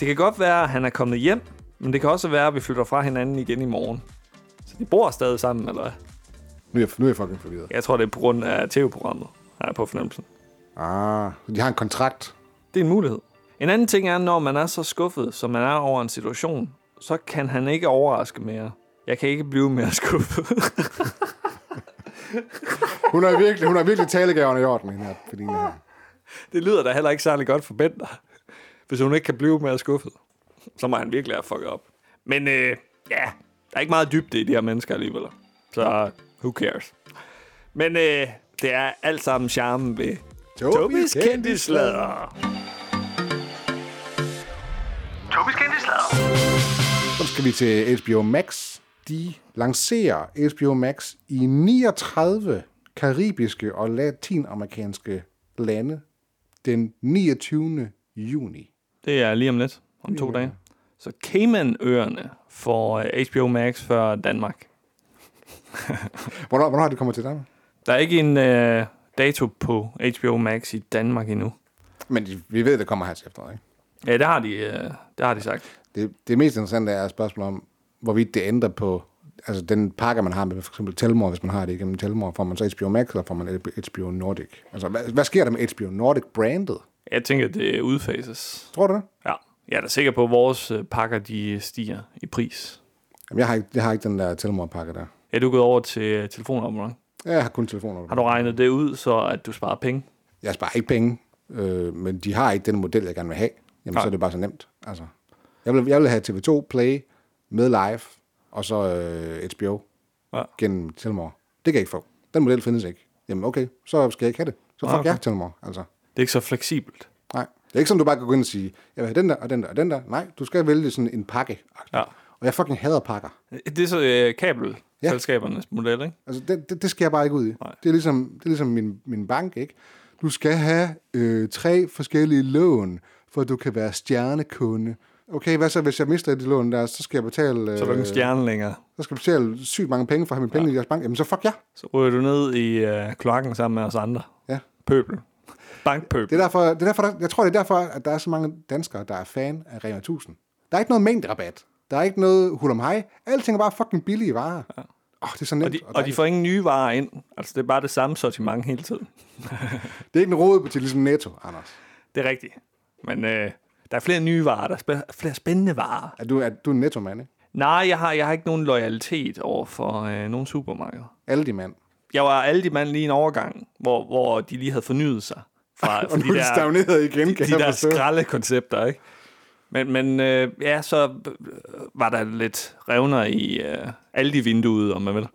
Speaker 1: Det kan godt være, at han er kommet hjem, men det kan også være, at vi flytter fra hinanden igen i morgen. Så de bor stadig sammen, eller hvad?
Speaker 2: Nu er jeg, nu er jeg fucking forvirret.
Speaker 1: Jeg tror, det er på grund af tv-programmet, har jeg på fornemmelsen.
Speaker 2: Ah, så de har en kontrakt.
Speaker 1: Det er en mulighed. En anden ting er, når man er så skuffet, som man er over en situation, så kan han ikke overraske mere. Jeg kan ikke blive mere skuffet.
Speaker 2: Hun har virkelig, hun har virkelig talegaverne i orden, hende her, Feline her.
Speaker 1: det lyder da heller ikke særlig godt for Bender, hvis hun ikke kan blive mere skuffet. Så må han virkelig have fucket op. Men øh, ja, der er ikke meget dybde i de her mennesker alligevel. Så who cares? Men øh, det er alt sammen charmen ved Tobis kendtislader.
Speaker 4: Tobis kendte slader.
Speaker 2: Så skal vi til HBO Max. De lancerer HBO Max i 39 karibiske og latinamerikanske lande den 29. juni.
Speaker 1: Det er lige om lidt, om to dage. Så Caymanøerne får øh, HBO Max før Danmark.
Speaker 2: Hvornår, hvornår har det kommet til Danmark?
Speaker 1: Der er ikke en øh, dato på HBO Max i Danmark endnu.
Speaker 2: Men de- vi ved, det kommer her til efteråret, ikke?
Speaker 1: Ja, det har de, øh, det har de sagt.
Speaker 2: Det, det mest interessante er spørgsmålet om, hvorvidt det ændrer på altså den pakke, man har med for eksempel Telmor, hvis man har det igennem Telmor, får man så HBO Max, eller får man HBO Nordic? Altså, hvad, hvad sker der med HBO Nordic-brandet?
Speaker 1: Jeg tænker, det udfases.
Speaker 2: Tror du det?
Speaker 1: Ja. Jeg er da sikker på, at vores øh, pakker de stiger i pris.
Speaker 2: Jamen, jeg har ikke, jeg har ikke den der Telmor-pakke der.
Speaker 1: Er du gået over til øh, telefonabonnement?
Speaker 2: Jeg har kun telefoner.
Speaker 1: Har du regnet det ud, så at du sparer penge?
Speaker 2: Jeg sparer ikke penge, øh, men de har ikke den model, jeg gerne vil have. Jamen,
Speaker 1: Nej.
Speaker 2: så er det bare så nemt. Altså, jeg, vil, jeg vil have TV2 Play med live, og så øh, HBO
Speaker 1: Ja.
Speaker 2: ja. gennem Telmor. Det kan jeg ikke få. Den model findes ikke. Jamen, okay, så skal jeg ikke have det. Så fuck
Speaker 1: okay.
Speaker 2: okay. jeg Telmor, altså.
Speaker 1: Det er ikke så fleksibelt.
Speaker 2: Nej. Det er ikke sådan, du bare kan gå ind og sige, jeg vil have den der, og den der, og den der. Nej, du skal vælge sådan en pakke.
Speaker 1: Ja.
Speaker 2: Og jeg fucking hader pakker.
Speaker 1: Det er så øh, kabelselskabernes model, ikke?
Speaker 2: Altså, det, det, det skal jeg bare ikke ud i.
Speaker 1: Nej.
Speaker 2: Det er ligesom, det er ligesom min, min bank, ikke? Du skal have øh, tre forskellige lån, for at du kan være stjernekunde. Okay, hvad så, hvis jeg mister de lån der, så skal jeg betale... Øh,
Speaker 1: Så er du ikke en stjerne længere.
Speaker 2: Så skal jeg betale sygt mange penge for at have mine penge ja. i jeres bank. Jamen, så fuck ja.
Speaker 1: Så ryger du ned i øh, kloakken sammen med os andre.
Speaker 2: ja.
Speaker 1: Pøbel. Bankpøbel.
Speaker 2: Det er derfor, det er derfor der, jeg tror, det er derfor, at der er så mange danskere, der er fan af Rema 1000. Der er ikke noget mængderabat. Der er ikke noget hul om hej. Alting er bare fucking billige varer. Ja. Oh, det er så nemt.
Speaker 1: Og de, og de
Speaker 2: dejligt.
Speaker 1: får ingen nye varer ind. Altså, det er bare det samme sortiment hele tiden.
Speaker 2: Det er ikke en råd til ligesom Netto, Anders.
Speaker 1: Det er rigtigt. Men øh, der er flere nye varer. Der er spæ- flere spændende varer.
Speaker 2: Er du, er du en Netto-mand, ikke?
Speaker 1: Nej, jeg har, jeg har ikke nogen loyalitet over for øh, nogen supermarkeder.
Speaker 2: Aldi-mand.
Speaker 1: Jeg var alle de mand lige en overgang, hvor, hvor de lige havde fornyet sig. Fra, fra
Speaker 2: Og nu er de stagneret igen,
Speaker 1: de,
Speaker 2: kan
Speaker 1: de
Speaker 2: jeg
Speaker 1: der
Speaker 2: forstå.
Speaker 1: skralde koncepter, ikke? Men, men øh, ja, så øh, var der lidt revner i øh, alle de vinduer, om man vil.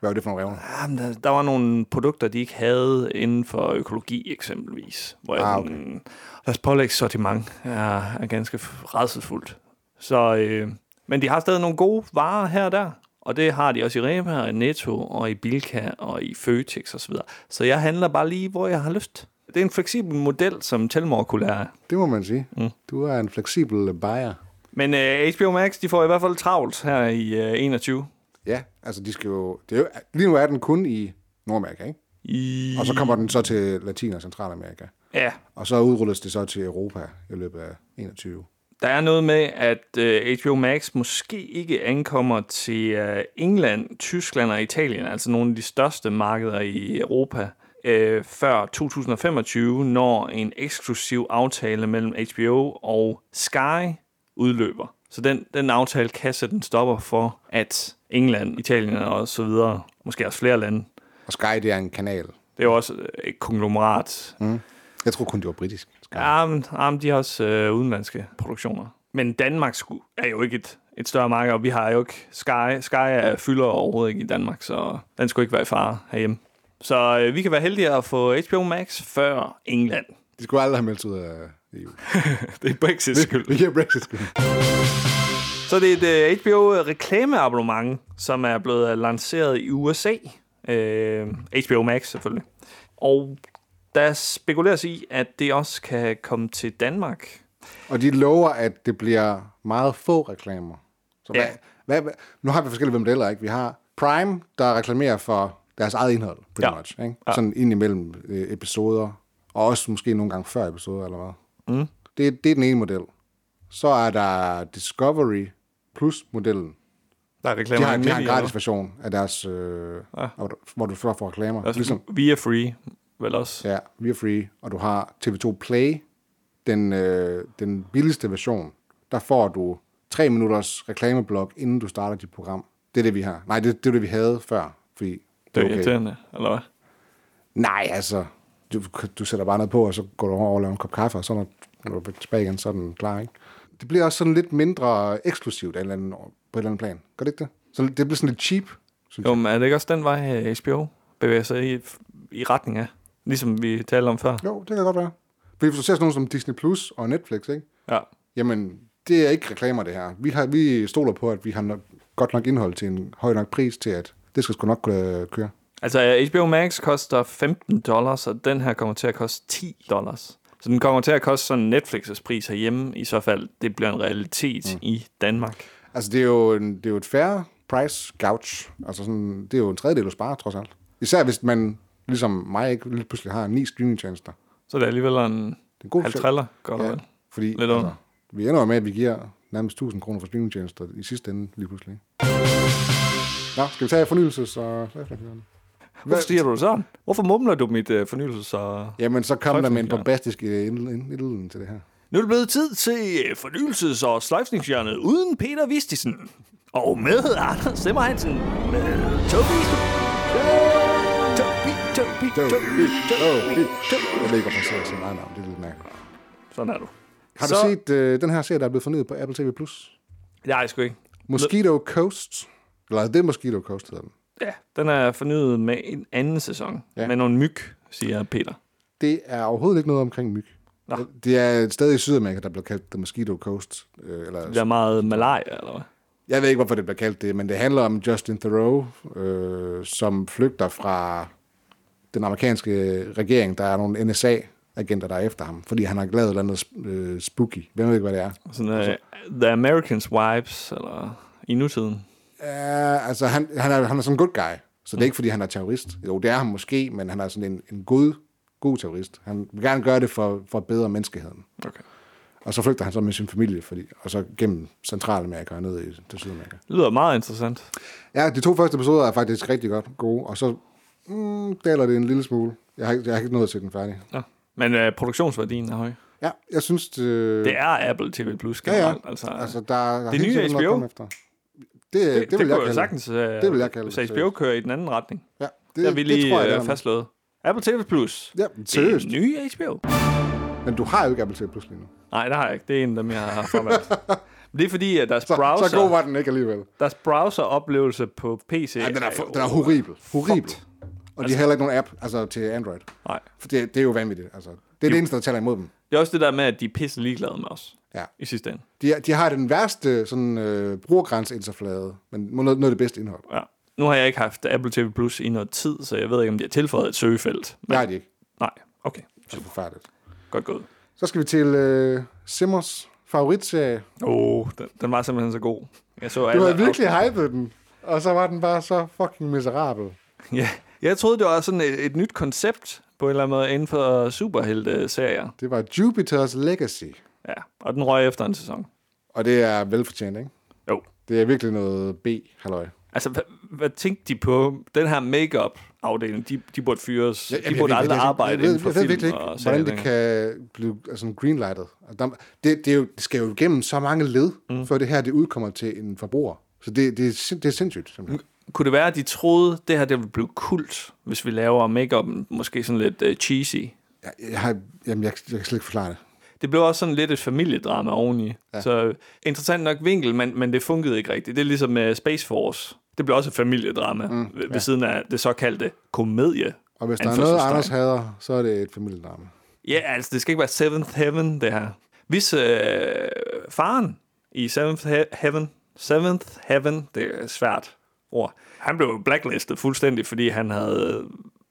Speaker 2: Hvad var det for nogle revner?
Speaker 1: Jamen, Ah, der, der var nogle produkter, de ikke havde inden for økologi eksempelvis. Hvor ah,
Speaker 2: Ah,
Speaker 1: jeg, okay. Deres pålægssortiment er, er ganske f- rædselsfuldt. Så, øh, men de har stadig nogle gode varer her og der. Og det har de også i Rema, og i Netto, og i Bilka, og i Føtex osv. Så, videre. så jeg handler bare lige, hvor jeg har lyst. Det er en fleksibel model, som Telmor kunne lære.
Speaker 2: Det må man sige. Mm. Du er en fleksibel buyer.
Speaker 1: Men øh, HBO Max, de får i hvert fald travlt her i øh, 21.
Speaker 2: Ja, altså de skal jo... Det er jo lige nu er den kun i Nordamerika, ikke?
Speaker 1: I...
Speaker 2: Og så kommer den så til Latin- og Centralamerika.
Speaker 1: Ja,
Speaker 2: Og så udrulles det så til Europa i løbet af 21.
Speaker 1: Der er noget med, at øh, HBO Max måske ikke ankommer til øh, England, Tyskland og Italien, altså nogle af de største markeder i Europa, øh, før 2025, når en eksklusiv aftale mellem HBO og Sky udløber. Så den, den aftale kan sætte en stopper for, at England, Italien og så videre, måske også flere lande,
Speaker 2: Og Sky, det er en kanal.
Speaker 1: det er jo også øh, et konglomerat,
Speaker 2: Jeg tror kun, det var britisk. Sky.
Speaker 1: Ja, men, ja, men de har også øh, udenlandske produktioner. Men Danmark sku- er jo ikke et, et større marked, og vi har jo ikke Sky. Sky er fylder overhovedet ikke i Danmark, så den skulle ikke være i fare herhjemme. Så øh, vi kan være heldige at få HBO Max før England.
Speaker 2: De skulle aldrig have meldt sig ud af EU.
Speaker 1: Det er Brexits skyld.
Speaker 2: Vi giver Brexit skyld.
Speaker 1: Så det er et uh, HBO-reklameabonnement, som er blevet øh, lanceret i USA. Uh, HBO Max selvfølgelig. Og der spekuleres i, at det også kan komme til Danmark.
Speaker 2: Og de lover, at det bliver meget få reklamer. Så
Speaker 1: Ja.
Speaker 2: ja. hvad, hvad, nu har vi forskellige modeller, ikke? Vi har Prime, der reklamerer for deres eget indhold, pretty
Speaker 1: Ja.
Speaker 2: ja. much. Ikke? Ja. Sådan ind imellem øh, episoder, og også måske nogle gange før episoder, eller hvad. Mm. Det, det er den ene model. Så er der Discovery Plus-modellen.
Speaker 1: Der er reklamer
Speaker 2: De har, de
Speaker 1: midt
Speaker 2: har en
Speaker 1: i,
Speaker 2: gratis version af deres, øh, ja. hvor du så får reklamer.
Speaker 1: Altså,
Speaker 2: Ligesom,
Speaker 1: ligesom. Via Free, vel også. Ja.
Speaker 2: Ja, vi er free, og du har TV2 Play, den, øh, den billigste version. Der får du tre minutters reklameblok, inden du starter dit program. Det er det, vi har. Nej, det, det er det, vi havde før, fordi
Speaker 1: Det er okay. irriterende, eller hvad?
Speaker 2: Nej, altså, du, du sætter bare noget på, og så går du over og laver en kop kaffe, og så når, når du er tilbage igen, så er den klar, ikke? Det bliver også sådan lidt mindre eksklusivt af en eller anden, på et eller andet plan. Gør det ikke det? Så det bliver sådan lidt cheap. synes
Speaker 1: Jo, men er det ikke også den vej, øh, HBO bevæger sig i, i retning af? Ligesom vi talte om før.
Speaker 2: jeg. Jo, det kan godt være. Fordi hvis du ser sådan nogle som Disney Plus og Netflix, ikke?
Speaker 1: Ja.
Speaker 2: jamen, det er ikke reklamer, det her. Vi, har, vi stoler på, at vi har nok, godt nok indhold til en høj nok pris til, at det skal sgu nok kunne øh, køre.
Speaker 1: Altså, øh, HBO Max koster 15 dollars, og den her kommer til at koste 10 dollars. Så den kommer til at koste sådan Netflix's pris herhjemme, i så fald det bliver en realitet mm. i Danmark.
Speaker 2: Altså, det er jo, en, det er jo et færre price gouge. Altså, sådan, det er jo en tredjedel, du sparer, trods alt. Især hvis man, ligesom mig, ikke lige pludselig har ni streamingtjenester.
Speaker 1: Så det er alligevel en,
Speaker 2: en god
Speaker 1: halv
Speaker 2: sel-
Speaker 1: triller, godt ja. vel.
Speaker 2: fordi
Speaker 1: Lidt under.
Speaker 2: altså, vi ender jo med, at vi giver nærmest 1000 kroner for streamingtjenester i sidste ende, lige pludselig. ikke? Nå, skal vi tage fornyelses- og...
Speaker 1: Hvorfor siger du det sådan? Hvorfor mumler du mit øh, fornyelses- og
Speaker 2: Jamen, så kom der med en
Speaker 1: Sløjfningsjern.
Speaker 2: bombastisk øh, indledning indledning til det her.
Speaker 1: Nu er det blevet tid til øh, fornyelses- og sløjfningshjørnet uden Peter Vistisen. Og med Anders Simmer Hansen. Med Tobi. Tobi, Tobi,
Speaker 2: Det er jo
Speaker 1: Tobi, Tobi, Tobi.
Speaker 2: Jeg ved ikke, hvorfor jeg sidder og siger nej navn. Det er lidt mærkeligt.
Speaker 1: Sådan er du.
Speaker 2: Har du
Speaker 1: Så-
Speaker 2: set øh, den her serie, der er blevet fornyet på Apple TV+. Plus?
Speaker 1: Nej, sgu ikke.
Speaker 2: Mosquito Coast. Eller det er Mosquito Coast, hedder den.
Speaker 1: Ja, den er fornyet med en anden sæson. Ja.
Speaker 2: Ja.
Speaker 1: Med nogle myg, siger Peter.
Speaker 2: Det er overhovedet ikke noget omkring myg.
Speaker 1: Nå.
Speaker 2: Det er et sted i Sydamerika, der bliver kaldt The Mosquito Coast. Øh, eller,
Speaker 1: Det er meget malaria, eller hvad?
Speaker 2: Jeg ved ikke, hvorfor det bliver kaldt det, men det handler om Justin Thoreau, øh, som flygter fra den amerikanske regering. Der er nogle NSA-agenter, der er efter ham, fordi han har lavet et eller andet øh, spooky. Hvem ved ikke, hvad det er?
Speaker 1: Sådan, uh, The Americans Wives, eller i nutiden.
Speaker 2: Ja, altså han, han, er, han er sådan en good guy, så det er ikke, fordi han er terrorist. Jo, det er han måske, men han er sådan en, en god, god terrorist. Han vil gerne gøre det for, for at bedre menneskeheden.
Speaker 1: Okay.
Speaker 2: Og så flygter han så med sin familie, fordi, og så gennem Centralamerika og ned i, til Sydamerika.
Speaker 1: Det lyder meget interessant.
Speaker 2: Ja, de to første episoder er faktisk rigtig godt gode, og så mm, daler det en lille smule. Jeg har, ikke- jeg har ikke nået at se den færdig.
Speaker 1: Ja. Men uh, produktionsværdien er høj.
Speaker 2: Ja, jeg synes... Det,
Speaker 1: Det er Apple TV Plus
Speaker 2: ja, ja.
Speaker 1: generelt. Altså,
Speaker 2: altså, der, er- der er
Speaker 1: det
Speaker 2: hele
Speaker 1: nye
Speaker 2: tiden noget at
Speaker 1: HBO.
Speaker 2: komme efter. Det, det, det,
Speaker 1: det, det
Speaker 2: vil jeg
Speaker 1: kunne
Speaker 2: kalde
Speaker 1: jo sagtens... Uh,
Speaker 2: Det vil jeg kalde
Speaker 1: Så
Speaker 2: det,
Speaker 1: HBO
Speaker 2: seriøst.
Speaker 1: kører i den anden retning.
Speaker 2: Ja,
Speaker 1: Det, der er vi lige øh, det
Speaker 2: tror jeg, det er.
Speaker 1: fastslået. Apple TV Plus.
Speaker 2: Ja,
Speaker 1: det er
Speaker 2: seriøst.
Speaker 1: nye HBO.
Speaker 2: Men du har jo ikke Apple TV Plus lige nu.
Speaker 1: Nej, det har jeg ikke. Det er en af dem, jeg har fravalgt. Men det er fordi, at deres
Speaker 2: Så,
Speaker 1: browser...
Speaker 2: så god var den ikke alligevel.
Speaker 1: Deres browser-oplevelse på PC...
Speaker 2: Ja, den, er,
Speaker 1: jo-
Speaker 2: fu- den er horribel. Horribel. Og de har heller ikke nogen app altså, til Android.
Speaker 1: Nej.
Speaker 2: For det, det er jo vanvittigt. Altså, det er det eneste, der taler imod dem.
Speaker 1: Det er også det der med, at de er pisse ligeglade med os.
Speaker 2: Ja.
Speaker 1: I sidste ende.
Speaker 2: De, er- de har den værste sådan, øh, brugergrænseinterflade, men må noget, noget af det bedste indhold.
Speaker 1: Ja. Nu har jeg ikke haft Apple TV Plus i noget tid, så jeg ved ikke, om de har tilføjet et søgefelt. Men,
Speaker 2: Det har de ikke.
Speaker 1: Nej, okay.
Speaker 2: Det er forfærdeligt.
Speaker 1: Godt gået.
Speaker 2: Så skal vi til øh, Simmers favoritserie.
Speaker 1: Åh, oh, den, den var simpelthen så god. Jeg så
Speaker 2: Du
Speaker 1: alle
Speaker 2: havde virkelig
Speaker 1: afsnit.
Speaker 2: hypet den, og så var den bare så fucking miserabel.
Speaker 1: Ja. Jeg troede, det var sådan et, et nyt koncept på en eller anden måde inden for superhelte-serier.
Speaker 2: Det var Jupiter's Legacy.
Speaker 1: Ja, og den røg efter en sæson.
Speaker 2: Og det er velfortjent, ikke?
Speaker 1: Jo.
Speaker 2: Det er virkelig noget B-halløj.
Speaker 1: Altså, hvad, hvad tænkte de på? Den her makeup afdeling de, de burde fyres.
Speaker 2: Jeg-
Speaker 1: de
Speaker 2: jeg-
Speaker 1: burde
Speaker 2: jeg- jeg-
Speaker 1: aldrig
Speaker 2: jeg- jeg-
Speaker 1: arbejde
Speaker 2: jeg ved-
Speaker 1: inden for
Speaker 2: Jeg ved
Speaker 1: film
Speaker 2: virkelig ikke,
Speaker 1: og
Speaker 2: hvordan det
Speaker 1: serier.
Speaker 2: kan blive altså, greenlightet. Og der- Det, det, er jo, det skal jo igennem så mange led, mm. før det her det udkommer til en forbruger. Så det, det, er, sind- det er sindssygt, simpelthen.
Speaker 1: Kunne det være, at de troede, det her det ville blive kult, hvis vi laver makeup måske sådan lidt uh, cheesy?
Speaker 2: Jeg, jeg, har, jamen, jeg, jeg kan slet ikke forklare det.
Speaker 1: Det blev også sådan lidt et familiedrama oveni. Ja. Så interessant nok vinkel, men, men det fungerede ikke rigtigt. Det er ligesom med Space Force. Det blev også et familiedrama mm, ved, ja. ved siden af det såkaldte komedie.
Speaker 2: Og hvis der er noget, Anders hader, så er det et familiedrama.
Speaker 1: Ja, altså det skal ikke være Seventh Heaven, det her. Hvis øh, faren i Seventh He- Heaven, Seventh Heaven, det er et svært ord, han blev blacklistet fuldstændig, fordi han havde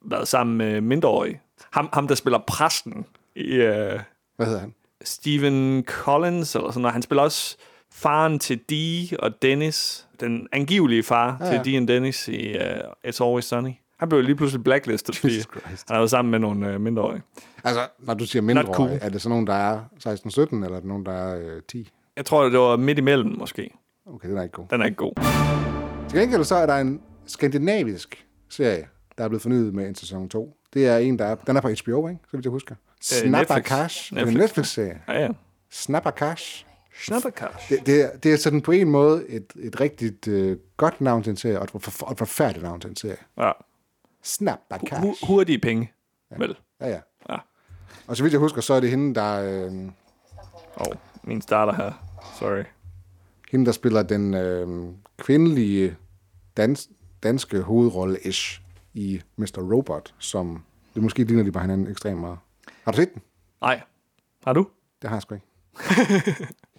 Speaker 1: været sammen med mindreårige. Ham, ham der spiller præsten i øh,
Speaker 2: Hvad hedder han?
Speaker 1: Stephen Collins, eller sådan noget. Han spiller også faren til Dee og Dennis, den angivelige far ja, ja.
Speaker 2: ja.
Speaker 1: til Dee og Dennis i uh, It's Always Sunny. Han blev lige pludselig blacklistet, fordi
Speaker 2: Jesus Christ.
Speaker 1: han havde været sammen med nogle øh, mindreårige.
Speaker 2: Altså, når du siger mindre,
Speaker 1: cool.
Speaker 2: cool. er det så nogen, der er 16-17, eller er det nogen, der er øh, 10?
Speaker 1: Jeg tror, det var midt imellem måske.
Speaker 2: Okay, den er ikke god.
Speaker 1: Den er ikke god.
Speaker 2: Til gengæld så er der en skandinavisk serie, der er blevet fornyet med en sæson 2. Det er en, der er, den er på HBO, ikke? Så vidt jeg husker. Snapper
Speaker 1: Øh, Netflix.
Speaker 2: Cash. Det er en
Speaker 1: Netflix.
Speaker 2: Netflix-serie.
Speaker 1: Ja, ja.
Speaker 2: Snapper Cash.
Speaker 1: Schnapperkash.
Speaker 2: Det, det, er, det er sådan på en måde et, et rigtigt øh, godt navn til en serie, og et, forf- og et forfærdeligt navn til en serie.
Speaker 1: Ja.
Speaker 2: Snapper Cash.
Speaker 1: Hu- hurtige penge, vel?
Speaker 2: Ja, ja.
Speaker 1: Ja.
Speaker 2: Og så vidt jeg husker, så er det hende, der, øh,
Speaker 1: Og min starter her. Sorry.
Speaker 2: hende, der spiller den øh, kvindelige dans, danske hovedrolle-ish i Mr. Robot, som det måske ligner de bare hinanden ekstremt meget. Har du set den?
Speaker 1: Nej. Har du?
Speaker 2: Det har jeg sgu ikke.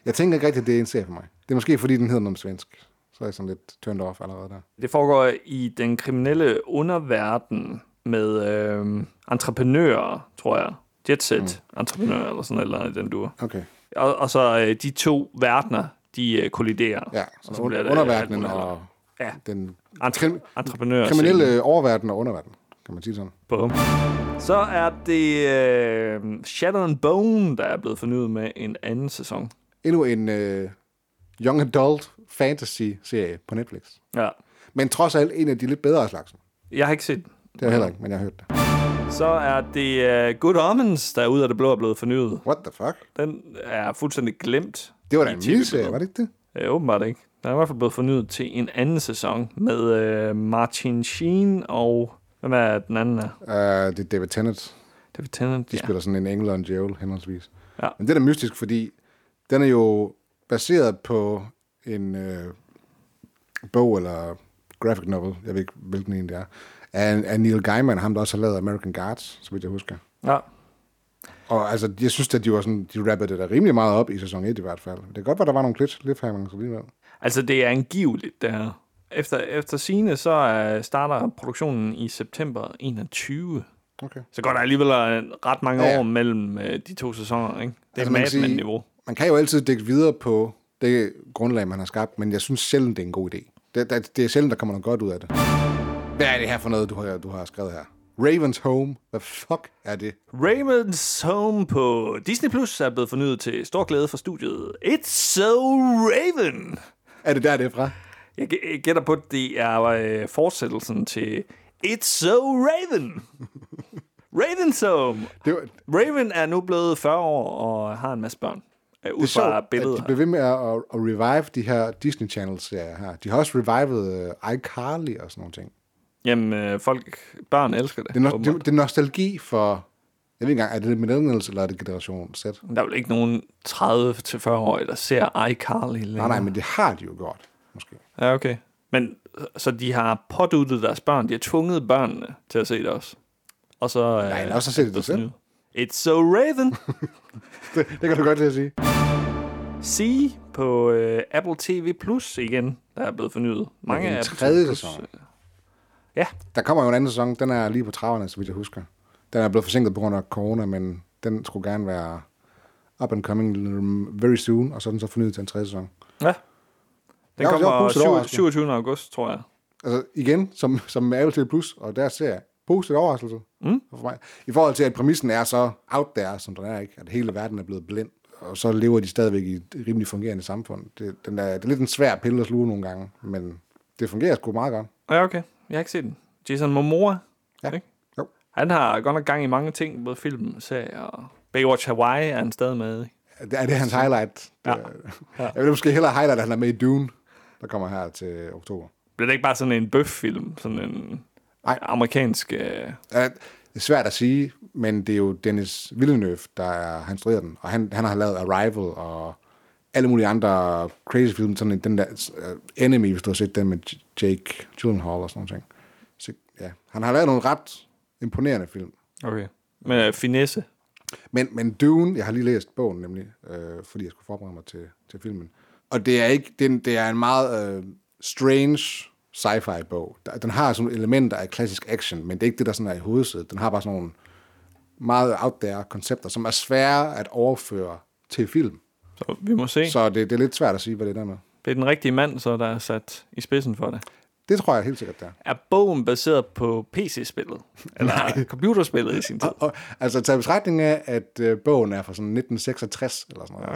Speaker 2: jeg tænker ikke rigtigt, at det er en serie for mig. Det er måske, fordi den hedder noget om svensk. Så er jeg sådan lidt turned off allerede der.
Speaker 1: Det foregår i den kriminelle underverden med øh, entreprenører, tror jeg. Jetset mm. entreprenører eller sådan eller andet i den duer.
Speaker 2: Okay.
Speaker 1: Og, og så øh, de to verdener, de øh, kolliderer.
Speaker 2: Ja,
Speaker 1: Og
Speaker 2: så
Speaker 1: bliver det øh, alt
Speaker 2: underverdenen
Speaker 1: muligt andet.
Speaker 2: og
Speaker 1: Ja,
Speaker 2: den
Speaker 1: entre- entreprenører.
Speaker 2: kriminelle oververden og underverden, kan man sige sådan.
Speaker 1: Bum. Så er det øh, Shadow and Bone, der er blevet fornyet med en anden sæson.
Speaker 2: Endnu en øh, young adult fantasy-serie på Netflix.
Speaker 1: Ja.
Speaker 2: Men trods alt en af de lidt bedre af slagsen.
Speaker 1: Jeg har ikke set den.
Speaker 2: Det har jeg heller ikke, men jeg har hørt det.
Speaker 1: Så er det øh, Good Omens, der er ud af det blå er blevet fornyet.
Speaker 2: What the fuck?
Speaker 1: Den er fuldstændig glemt.
Speaker 2: Det var da
Speaker 1: i
Speaker 2: en
Speaker 1: TV-billedet.
Speaker 2: miniserie, var det ikke det?
Speaker 1: Øh, åbenbart ikke. Den er i hvert fald blevet fornyet til en anden sæson med øh, Martin Sheen og... Hvem er den anden her?
Speaker 2: Uh, det er David Tennant.
Speaker 1: David Tennant.
Speaker 2: De ja. spiller sådan en engel og en djævel, henholdsvis.
Speaker 1: Ja.
Speaker 2: Men det er da mystisk, fordi den er jo baseret på en øh, bog eller graphic novel, jeg ved ikke, hvilken en det er, af, af Neil Gaiman, ham der også har lavet American Guards, så vidt jeg husker.
Speaker 1: Ja. ja.
Speaker 2: Og altså, jeg synes, at de var sådan, de rappede det der rimelig meget op i sæson 1 i hvert fald. Det kan godt være, der var nogle klits, lidt her, man alligevel.
Speaker 1: Altså, det er angiveligt, det her. Efter, efter sine så øh, starter produktionen i september 21.
Speaker 2: Okay.
Speaker 1: Så går der alligevel øh, ret mange
Speaker 2: Ja,
Speaker 1: ja,
Speaker 2: ja.
Speaker 1: år mellem øh, de to sæsoner, ikke? Det er altså,
Speaker 2: Altså, man kan
Speaker 1: Mad
Speaker 2: sige-
Speaker 1: Men-niveau.
Speaker 2: Man kan jo altid dække videre på det grundlag, man har skabt, men jeg synes sjældent, det er en god idé. Det, det, det er sjældent, der kommer noget godt ud af det. Hvad er det her for noget, du har, du har skrevet her? Ravens Home. Hvad fuck er det?
Speaker 1: Raymond's Home på Disney Plus er blevet fornyet til stor glæde for studiet It's So Raven.
Speaker 2: Er det der, det er fra?
Speaker 1: Jeg gæ- jeg gætter på, at det er øh, fortsættelsen til It's So Raven. Raven's Home.
Speaker 2: Det, var, det
Speaker 1: Raven er nu blevet 40 år og har en masse børn. Øh, ud fra
Speaker 2: er sjovt, at
Speaker 1: billedet
Speaker 2: de blev ved med at, at at revive de her Disney Channel-serier her. De har også revivet uh, iCarly og sådan nogle ting.
Speaker 1: Jamen, øh, folk, børn elsker det.
Speaker 2: Det er, no,
Speaker 1: åbenbart.
Speaker 2: det, det er nostalgi for Jeg ved ikke engang, er det millennials, eller er det generation Z?
Speaker 1: Men Der er vel ikke nogen 30-40-årige, der ser iCarly længere.
Speaker 2: Nej, nej, men det har de jo gjort, måske.
Speaker 1: Ja, okay. Men så de har påduttet deres børn, de har tvunget børnene til at se det også. Og så... Nej,
Speaker 2: men også har set det selv.
Speaker 1: It's so Raven.
Speaker 2: Det, det kan du godt til at sige.
Speaker 1: See på øh, Apple TV Plus igen, der er blevet fornyet. Mange
Speaker 2: Den
Speaker 1: af
Speaker 2: tredje sæson.
Speaker 1: øh, Ja,
Speaker 2: Der kommer jo en anden sæson, den er lige på traverne, så vidt jeg husker. Den er blevet forsinket på grund af corona, men den skulle gerne være up and coming um, very soon, og så er den så fornyet til en tredje sæson.
Speaker 1: ja. Den
Speaker 2: Jeg var- jeg var
Speaker 1: kommer
Speaker 2: positivt
Speaker 1: syv-
Speaker 2: overrasket.
Speaker 1: 27. august, tror jeg.
Speaker 2: Altså igen, som, som med Apple TV Plus, og der ser jeg positiv overraskelse mm. for mig. I forhold til, at præmissen er så out there, som den er, ikke? at hele verden er blevet blind, og så lever de stadigvæk i et rimelig fungerende samfund. Det, den er, det er lidt en svær pille at sluge nogle gange, men det fungerer sgu meget godt.
Speaker 1: Ja, okay. Jeg har ikke set den. Jason Momoa.
Speaker 2: Ja.
Speaker 1: Ikke?
Speaker 2: Jo.
Speaker 1: Han har godt nok gang i mange ting, både film, serier og... Baywatch Hawaii er han stadig med. i.
Speaker 2: Det er det hans highlight. Ja. Jeg vil måske hellere highlight, at han er med i Dune, der kommer her til oktober.
Speaker 1: Bliver det ikke bare sådan en bøffilm? Sådan en
Speaker 2: Nej.
Speaker 1: amerikansk... Øh...
Speaker 2: Ja, Det er svært at sige, men det er jo Dennis Villeneuve, der er, han instruerer den, og han, han har lavet Arrival og alle mulige andre crazy film, sådan en- den der uh, Enemy, hvis du har set den med J- Jake Gyllenhaal og sådan noget. Så ja, han har lavet nogle ret imponerende film.
Speaker 1: Okay. Med øh, finesse.
Speaker 2: Men, men Dune, jeg har lige læst bogen nemlig, øh, fordi jeg skulle forberede mig til, til filmen. Og det er, ikke, det er, en- det er en meget øh, strange sci-fi bog. Der- Den har sådan nogle elementer af klassisk action, men det er ikke det, der sådan er i hovedsædet. Den har bare sådan nogle meget out there koncepter, som er svære at overføre til film.
Speaker 1: Så vi må se. Så...
Speaker 2: Så det, det er lidt svært at sige, hvad det er der med.
Speaker 1: Det er den rigtige mand, så der er sat i spidsen for det.
Speaker 2: Det tror jeg helt sikkert, der. er.
Speaker 1: Er bogen baseret på PC-spillet? Eller computerspillet i sin tid?
Speaker 2: Og, altså, taget i betragtning af, at øh, bogen er fra sådan 1966 eller sådan noget, ja.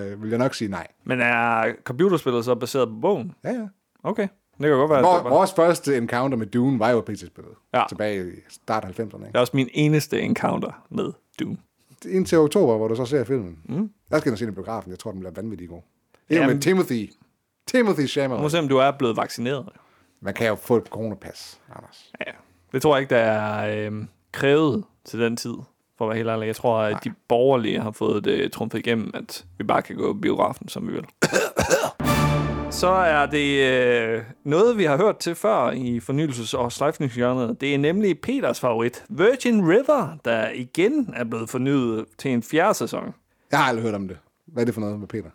Speaker 2: så øh, vil jeg nok sige nej.
Speaker 1: Men er computerspillet så baseret på bogen?
Speaker 2: Ja, ja.
Speaker 1: Okay. Det kan godt være, at
Speaker 2: Vor,
Speaker 1: det var...
Speaker 2: vores første encounter med Dune var jo PC-spillet.
Speaker 1: Altså, Ja.
Speaker 2: Ja. Tilbage i start af 90'erne.
Speaker 1: Det
Speaker 2: Ikke?
Speaker 1: er også min eneste encounter med Doom.
Speaker 2: Ja. Indtil oktober, hvor du så ser filmen. Mm. Der skal jeg se den i biografen. Jeg tror, den bliver vanvittig god. Ikke
Speaker 1: Jamen.
Speaker 2: med Timothy. Timothy
Speaker 1: Nu må
Speaker 2: Chalamet.
Speaker 1: se, om du er blevet vaccineret.
Speaker 2: Man kan jo få et coronapas, Anders.
Speaker 1: Ja. Det tror jeg ikke, der er øh, krævet til den tid, for at være helt ærlig. Jeg tror, at de borgerlige har fået det trumfet igennem, at vi bare kan gå i biografen, som vi vil. Så er det øh, noget, vi har hørt til før i fornyelses- og slejfningshjørnet. Det er nemlig Peters favorit, Virgin River, der igen er blevet fornyet til en fjerde sæson.
Speaker 2: Jeg har aldrig hørt om det. Hvad er det for noget med Peter?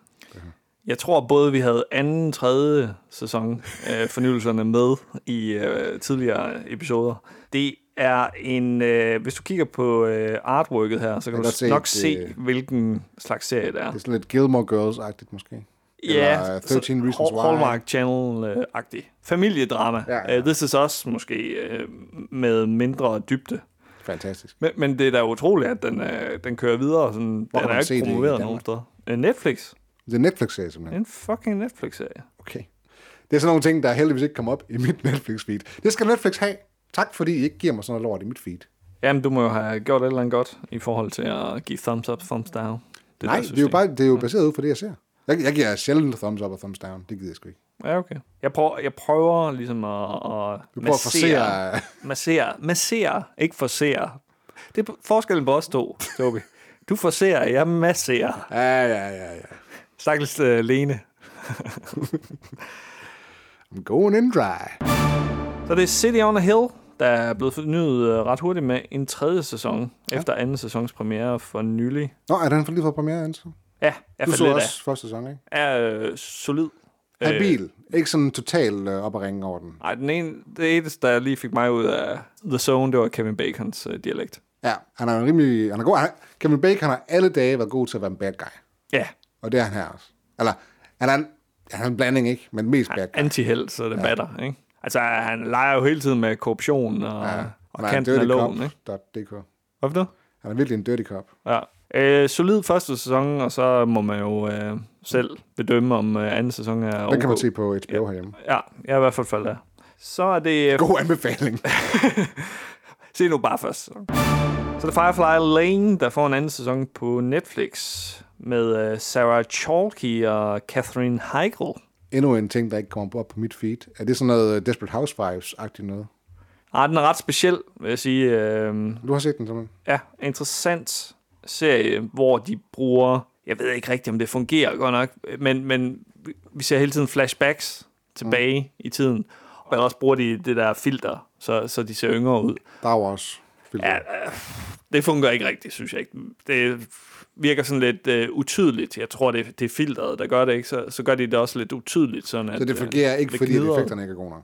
Speaker 1: Jeg tror både, vi havde anden, tredje sæson øh, fornyelserne med i øh, tidligere episoder. Det er en... Øh, hvis du kigger på øh, artworket her, så kan
Speaker 2: kan
Speaker 1: du
Speaker 2: godt se,
Speaker 1: nok
Speaker 2: det-
Speaker 1: se, hvilken slags serie det er.
Speaker 2: Det er sådan lidt Gilmore Girls-agtigt, måske. eller, øh, 13 Reasons
Speaker 1: Hall-
Speaker 2: Why.
Speaker 1: Hallmark Channel-agtig. Familiedrama.
Speaker 2: Ja, ja.
Speaker 1: Øh, This is Us måske øh, med mindre dybde.
Speaker 2: Fantastisk.
Speaker 1: Men, men det er da utroligt, at den, øh, den kører videre. Sådan,
Speaker 2: kan
Speaker 1: den er
Speaker 2: man se det
Speaker 1: ikke
Speaker 2: i
Speaker 1: promoveret
Speaker 2: Danmark?
Speaker 1: nogen steder. Øh, Netflix.
Speaker 2: Det er en Netflix-serie, simpelthen.
Speaker 1: En fucking Netflix-serie.
Speaker 2: Okay. Det er sådan nogle ting, der heldigvis ikke kommer op i mit Netflix-feed. Det skal Netflix have. Tak, fordi I ikke giver mig sådan noget lort i mit feed.
Speaker 1: Jamen, du må jo have gjort et eller andet godt i forhold til at give thumbs up, thumbs down. Det
Speaker 2: Nej,
Speaker 1: der
Speaker 2: det er, jo
Speaker 1: system.
Speaker 2: bare, det er
Speaker 1: Mm.
Speaker 2: jo baseret ud på det, jeg ser. Jeg, jeg giver sjældent thumbs up og thumbs down. Det gider jeg sgu ikke.
Speaker 1: Ja, okay. Jeg prøver, jeg prøver ligesom at, at
Speaker 2: Du prøver at forsere...
Speaker 1: massere, massere, ikke forsere. Det er forskellen på os to, Tobi. Du forserer, jeg masserer.
Speaker 2: Ja, ja, ja, ja.
Speaker 1: Stakkels uh, Lene.
Speaker 2: I'm going in dry.
Speaker 1: Så det er City on a Hill, der er blevet fornyet øh, ret hurtigt med en tredje sæson, ja. efter anden sæsons premiere for nylig.
Speaker 2: Nå, er den for lige fået premiere, Anton?
Speaker 1: Ja, jeg
Speaker 2: Du
Speaker 1: faldt
Speaker 2: så
Speaker 1: lidt
Speaker 2: også første sæson, ikke?
Speaker 1: af. Er øh, solid. Øh,
Speaker 2: Habil. Ikke sådan total øh, op at ringe over den.
Speaker 1: Nej, den ene, det eneste, der lige fik mig ud af The Zone, det var Kevin Bacons øh, dialekt.
Speaker 2: Ja, han er en rimelig... Han er god. Han, Kevin Bacon har alle dage været god til at være en bad guy.
Speaker 1: Ja,
Speaker 2: Og det er han her også. Eller, han er en, han er en blanding, ikke? Men mest bad guy.
Speaker 1: antiheld, så det ja. batter, ikke? Altså, han leger jo hele tiden med korruption og, ja. og
Speaker 2: Han er en
Speaker 1: kanten af
Speaker 2: dirty
Speaker 1: loven,
Speaker 2: cop
Speaker 1: ikke?
Speaker 2: dot DK.
Speaker 1: Hvorfor det?
Speaker 2: Han er virkelig en dirty cop.
Speaker 1: Ja. Øh, solid første sæson, og så må man jo øh, selv bedømme, om øh, anden sæson er
Speaker 2: Den kan man
Speaker 1: ok.
Speaker 2: se på HBO herhjemme.
Speaker 1: Ja, jeg er i hvert fald faldet af. Så er det... Øh,
Speaker 2: God anbefaling.
Speaker 1: Se nu bare først. sæson. Så er det Firefly Lane, der får en anden sæson på Netflix med øh, Sarah Chalky og Catherine Heigl.
Speaker 2: endnu en ting, der ikke kommer op på mit feed. Er det sådan noget Desperate øh, Housewives-agtigt noget?
Speaker 1: Ah, den er ret speciel, vil jeg sige. Øhm,
Speaker 2: Du har set den simpelthen.
Speaker 1: ja, interessant serie, hvor de bruger... Jeg ved ikke rigtigt, om det fungerer godt nok, men, men vi- vi ser hele tiden flashbacks tilbage mm. i tiden. Og også bruger de det der filter, så, så de ser yngre ud.
Speaker 2: Der var også filter.
Speaker 1: Ja, øh, det fungerer ikke rigtigt, synes jeg ikke. Det virker sådan lidt øh, utydeligt. Jeg tror, det, det er filteret, der gør det, ikke? Så, så gør de det også lidt utydeligt. Sådan at,
Speaker 2: så det
Speaker 1: øh,
Speaker 2: fungerer ikke,
Speaker 1: det
Speaker 2: fordi
Speaker 1: gnider.
Speaker 2: effekterne ikke er gode nok.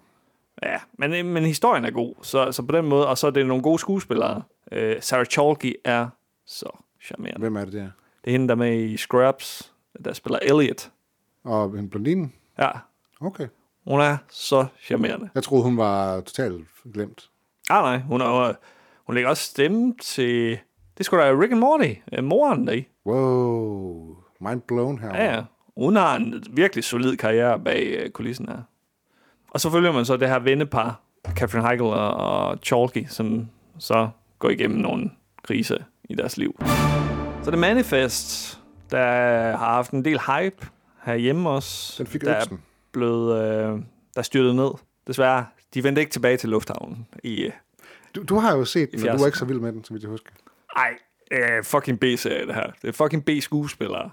Speaker 1: Ja, men, men historien er god, så, så på den måde, og så er det nogle gode skuespillere. Øh, Sarah Chalky er så charmerende.
Speaker 2: Hvem er det der?
Speaker 1: Det er hende, der er med i Scrubs, der spiller Elliot.
Speaker 2: Og en blondine?
Speaker 1: Ja,
Speaker 2: Okay.
Speaker 1: hun er så charmerende.
Speaker 2: Jeg troede, hun var totalt glemt.
Speaker 1: Ah nej, hun, er, hun lægger også stemme til... Det skulle da Rick and Morty, øh, moren der i.
Speaker 2: Wow. Mind blown her.
Speaker 1: Ja, ja. Hun har en virkelig solid karriere bag øh, kulissen her. Og så følger man så det her vennepar, Catherine Heigl og, og Chalky, som så går igennem nogle kriser i deres liv. Så det er Manifest, der har haft en del hype herhjemme også.
Speaker 2: Den fik
Speaker 1: der er
Speaker 2: øksen.
Speaker 1: blevet, øh, der styrtede ned. Desværre, de vendte ikke tilbage til lufthavnen i... Øh,
Speaker 2: Du, du har jo set den, og du
Speaker 1: fjersen.
Speaker 2: er ikke så vild med den, som jeg husker.
Speaker 1: ej, øh, fucking B-serie det her. Det er fucking B-skuespillere.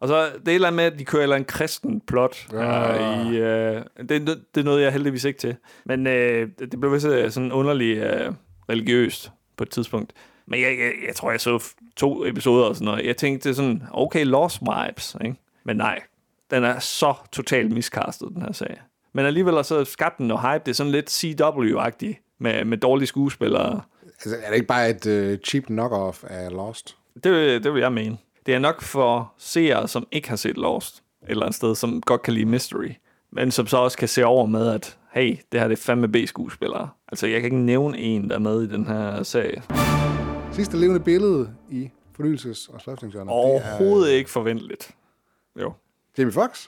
Speaker 1: Og så det er et eller andet med, at de kører et eller andet kristen plot. Ja. I, øh, det, er no- det er noget, jeg heldigvis ikke til. Men øh, det det blev vist øh, sådan underligt øh, religiøst på et tidspunkt. Men jeg, jeg, jeg tror, jeg så f- to episoder og sådan noget. Jeg tænkte sådan, okay, Lost Vibes, ikke? Men nej, den er så totalt miscastet, den her serie. Men alligevel har så skabt den noget hype. Det er sådan lidt CW-agtigt med, med dårlige skuespillere.
Speaker 2: Altså, er det ikke bare et øh, cheap knockoff af Lost?
Speaker 1: Det, det vil jeg mene. Det er nok for seere, som ikke har set Lost, eller et sted, som godt kan lide mystery, men som så også kan se over med, at hey, det her det er fandme B-skuespillere. Altså, jeg kan ikke nævne en, der er med i den her serie.
Speaker 2: Sidste levende billede i fornyelses- og slagtingshjørnet.
Speaker 1: Overhovedet ikke forventeligt. Jo.
Speaker 2: Jamie Fox.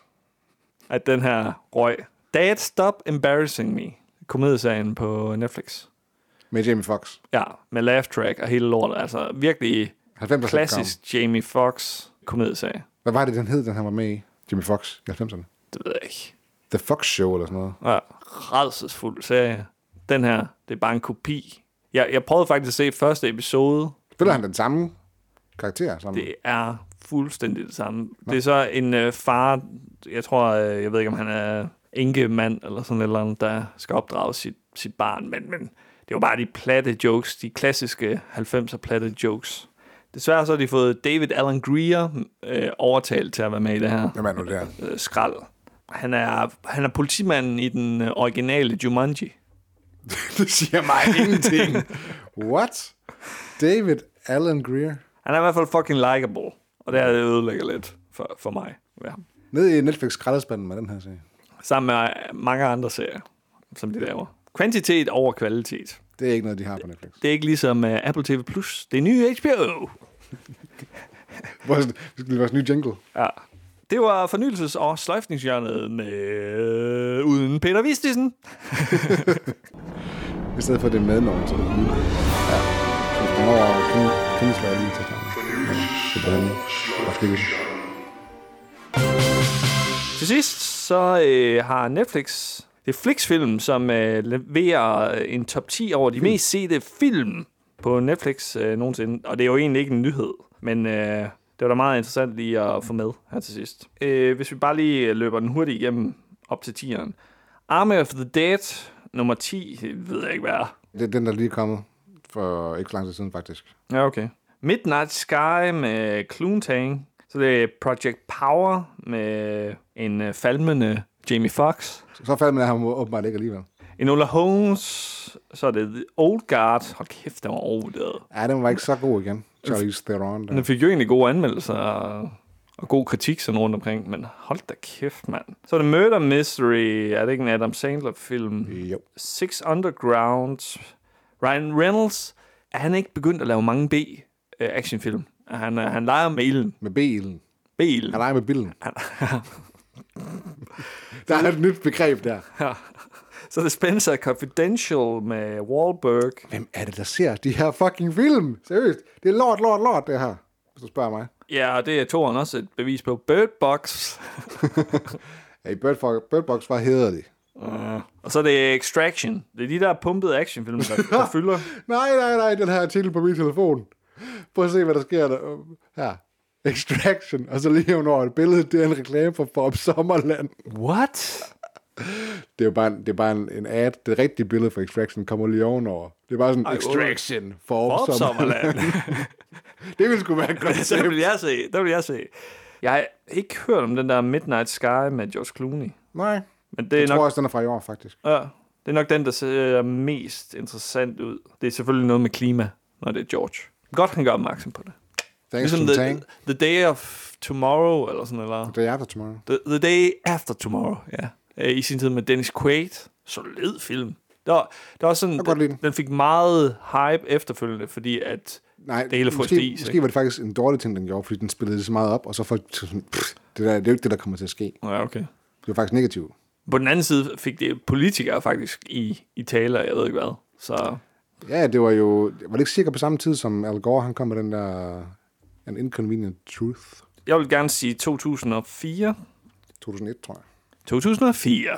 Speaker 1: At den her røg. Dad, stop embarrassing me. Komedieserien på Netflix.
Speaker 2: Med Jamie Fox.
Speaker 1: Ja, med laugh track og hele lortet. Altså, virkelig
Speaker 2: 90'erne.
Speaker 1: klassisk Jamie Fox komedieserie.
Speaker 2: Hvad var det, den hed, den han var med i? Jamie Fox i 90'erne.
Speaker 1: Det ved jeg ikke.
Speaker 2: The Fox Show eller sådan noget.
Speaker 1: Ja, redselsfuld serie. Den her, det er bare en kopi. Jeg, jeg prøvede faktisk at se første episode.
Speaker 2: Spiller han den samme karakter sammen?
Speaker 1: Det er fuldstændig det samme. Det er så en øh, far, jeg tror, øh, jeg ved ikke, om han er enkemand eller sådan et eller andet, der skal opdrage sit, sit barn. Men, men det var bare de platte jokes, de klassiske 90'er platte jokes. Desværre så har de fået David Allen Greer øh, overtalt til at være med i det her
Speaker 2: Hvem er nu der?
Speaker 1: øh, skrald. Han er, han er politimanden i den øh, originale Jumanji.
Speaker 2: det siger mig ingenting. What? David Alan Greer.
Speaker 1: Han er i hvert fald fucking likable, og det her det ødelægger lidt for, for mig. Ja.
Speaker 2: Nede i Netflix skraldespanden med den her serie.
Speaker 1: Sammen med øh, mange andre serier, som de laver. Kvantitet over kvalitet.
Speaker 2: Det er ikke noget, de har på Netflix.
Speaker 1: Det er ikke ligesom uh, Apple TV+, Plus. det er nye HBO.
Speaker 2: Vores, det er vores nye jingle.
Speaker 1: Ja. Det var fornyelses- og sløjfningshjørnet med... uden Peter Vistisen.
Speaker 2: I stedet for det med nogen, så er det nu. Ja. Så kommer over og kan, kan slå lige til starten. Så på den og skal vi.
Speaker 1: Til sidst så øh, har Netflix det er Flix-film, som øh, leverer en top 10 over de mest sete film på Netflix øh, nogensinde. Og det er jo egentlig ikke en nyhed, men øh, det var da meget interessant lige at få med her til sidst. Øh, hvis vi bare lige løber den hurtigt igennem op til 10'eren. Army of the Dead, nummer 10, det ved jeg ikke hvad er.
Speaker 2: Det er den, der lige er kommet for ikke så lang tid siden, faktisk.
Speaker 1: Ja, okay. Midnight Sky med Cloontang. Så det er Project Power med en øh, falmende Jamie Foxx.
Speaker 2: Så faldt man af ham åbenbart ikke alligevel.
Speaker 1: Enola Holmes, så er det The Old Guard. Hold kæft, den var overvurderet.
Speaker 2: Ja, den var ikke så god igen. Charlize Theron. Der.
Speaker 1: Den fik jo egentlig gode anmeldelser og, og god kritik sådan rundt omkring, men hold da kæft, mand. Så er det Murder Mystery. Er det ikke en Adam Sandler-film?
Speaker 2: Jo.
Speaker 1: Six Underground. Ryan Reynolds. Er han ikke begyndt at lave mange B-actionfilm? Han, øh, han leger med ilden.
Speaker 2: Med bilen.
Speaker 1: B-ilden.
Speaker 2: Han leger med bilen. der er et nyt begreb der.
Speaker 1: Så er det Spencer Confidential med Wahlberg.
Speaker 2: Hvem er det, der ser de her fucking film? Seriøst. Det er lort, lort, lort, det her. Hvis du spørger mig.
Speaker 1: Ja, og det er toeren også et bevis på. Bird Box.
Speaker 2: Ja, i Bird, Fo- Bird Box, hvad hedder de?
Speaker 1: Uh, Og så er det Extraction. Det er de der pumpede actionfilm, der, der fylder.
Speaker 2: Nej, nej, nej, den her titel på min telefon. Prøv at se, hvad der sker der. her. Extraction, og så lige under et billede, det er en reklame for Bob Sommerland.
Speaker 1: What?
Speaker 2: Det er jo bare en, det er bare en, en ad. Det rigtige billede for Extraction kommer lige ovenover. Det er bare sådan,
Speaker 1: Ej,
Speaker 2: Ej, Extraction for Bob,
Speaker 1: Bob
Speaker 2: Sommerland.
Speaker 1: Sommerland.
Speaker 2: Det ville sgu være et godt
Speaker 1: så vil
Speaker 2: tip.
Speaker 1: jeg se. Der vil jeg se. Jeg har ikke hørt om den der Midnight Sky med George Clooney.
Speaker 2: Nej,
Speaker 1: Men det er,
Speaker 2: jeg
Speaker 1: nok,
Speaker 2: tror også, den er fra i år, faktisk.
Speaker 1: ja, det er nok den, der ser mest interessant ud. Det er selvfølgelig noget med klima, når det er George. Godt, han gør opmærksom på det.
Speaker 2: Thanks
Speaker 1: Ligesom
Speaker 2: to the, Tang.
Speaker 1: the, the Day of Tomorrow, eller sådan eller...
Speaker 2: Det er After Tomorrow.
Speaker 1: The, the Day After Tomorrow, ja. Øh, I sin tid med Dennis Quaid. Solid film. Der, var, der var sådan,
Speaker 2: kan godt lide den.
Speaker 1: den fik meget hype efterfølgende, fordi at
Speaker 2: Nej,
Speaker 1: det hele frygte
Speaker 2: måske,
Speaker 1: is.
Speaker 2: måske
Speaker 1: ikke?
Speaker 2: var det faktisk en dårlig ting, den gjorde, fordi den spillede det så meget op, og så folk tænkte sådan, "Pff, det, der, det er jo ikke det, der kommer til at ske.
Speaker 1: Ja, okay.
Speaker 2: Det var faktisk negativt.
Speaker 1: På den anden side fik det politikere faktisk i, i taler, jeg ved ikke hvad. Så
Speaker 2: Ja, det var jo... Var det ikke cirka på samme tid, som Al Gore, han kom med den der... An Inconvenient Truth,
Speaker 1: jeg vil gerne sige 2004.
Speaker 2: 2001, tror jeg.
Speaker 1: 2004.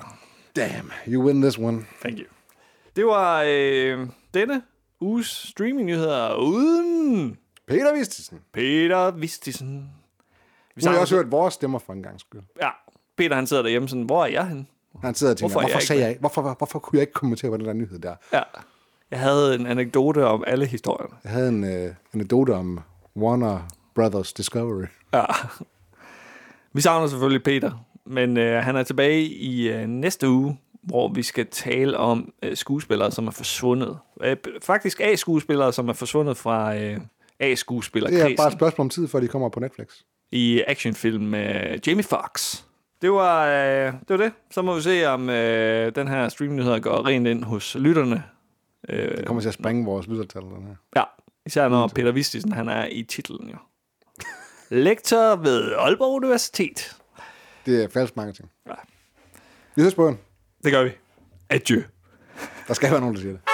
Speaker 2: Damn, you win this one.
Speaker 1: Thank you. Det var øh, denne uges streaming-nyheder uden
Speaker 2: Peter Vistisen.
Speaker 1: Peter Vistisen. Vi
Speaker 2: Nu har jeg
Speaker 1: savner-
Speaker 2: også hørt vores stemmer for en gang skyld.
Speaker 1: Ja, Peter han sidder derhjemme sådan, hvor er jeg henne?
Speaker 2: Han sidder og tænker,
Speaker 1: Hvorfor er
Speaker 2: hvorfor,
Speaker 1: jeg
Speaker 2: hvorfor,
Speaker 1: ikke
Speaker 2: sagde
Speaker 1: med?
Speaker 2: jeg, ikke- hvorfor, hvorfor kunne jeg ikke kommentere på den der nyhed der?
Speaker 1: Ja. Jeg havde en anekdote om alle historierne.
Speaker 2: Jeg havde en øh, anekdote om Warner Brothers Discovery.
Speaker 1: Ja. Vi savner selvfølgelig Peter, men øh, han er tilbage i øh, næste uge, hvor vi skal tale om øh, skuespillere, som er forsvundet. Øh, faktisk A-skuespillere, som er forsvundet fra øh,
Speaker 2: Det er bare et
Speaker 1: A-skuespillerkredsen
Speaker 2: spørgsmål om tid, før de kommer på Netflix.
Speaker 1: i actionfilm med Jamie Foxx. Det var, øh, det var det. Så må vi se, om øh, den her streamnyhed går rent ind hos lytterne. Øh,
Speaker 2: Det kommer til at sprænge vores lyttertal, den her.
Speaker 1: Ja, især når Peter Vistisen, han er i titlen jo. Lektor ved Aalborg Universitet.
Speaker 2: Det er falsk marketing.
Speaker 1: Ja.
Speaker 2: Vi ses på en.
Speaker 1: Det gør vi. Adieu.
Speaker 2: Der skal være nogen, der siger det.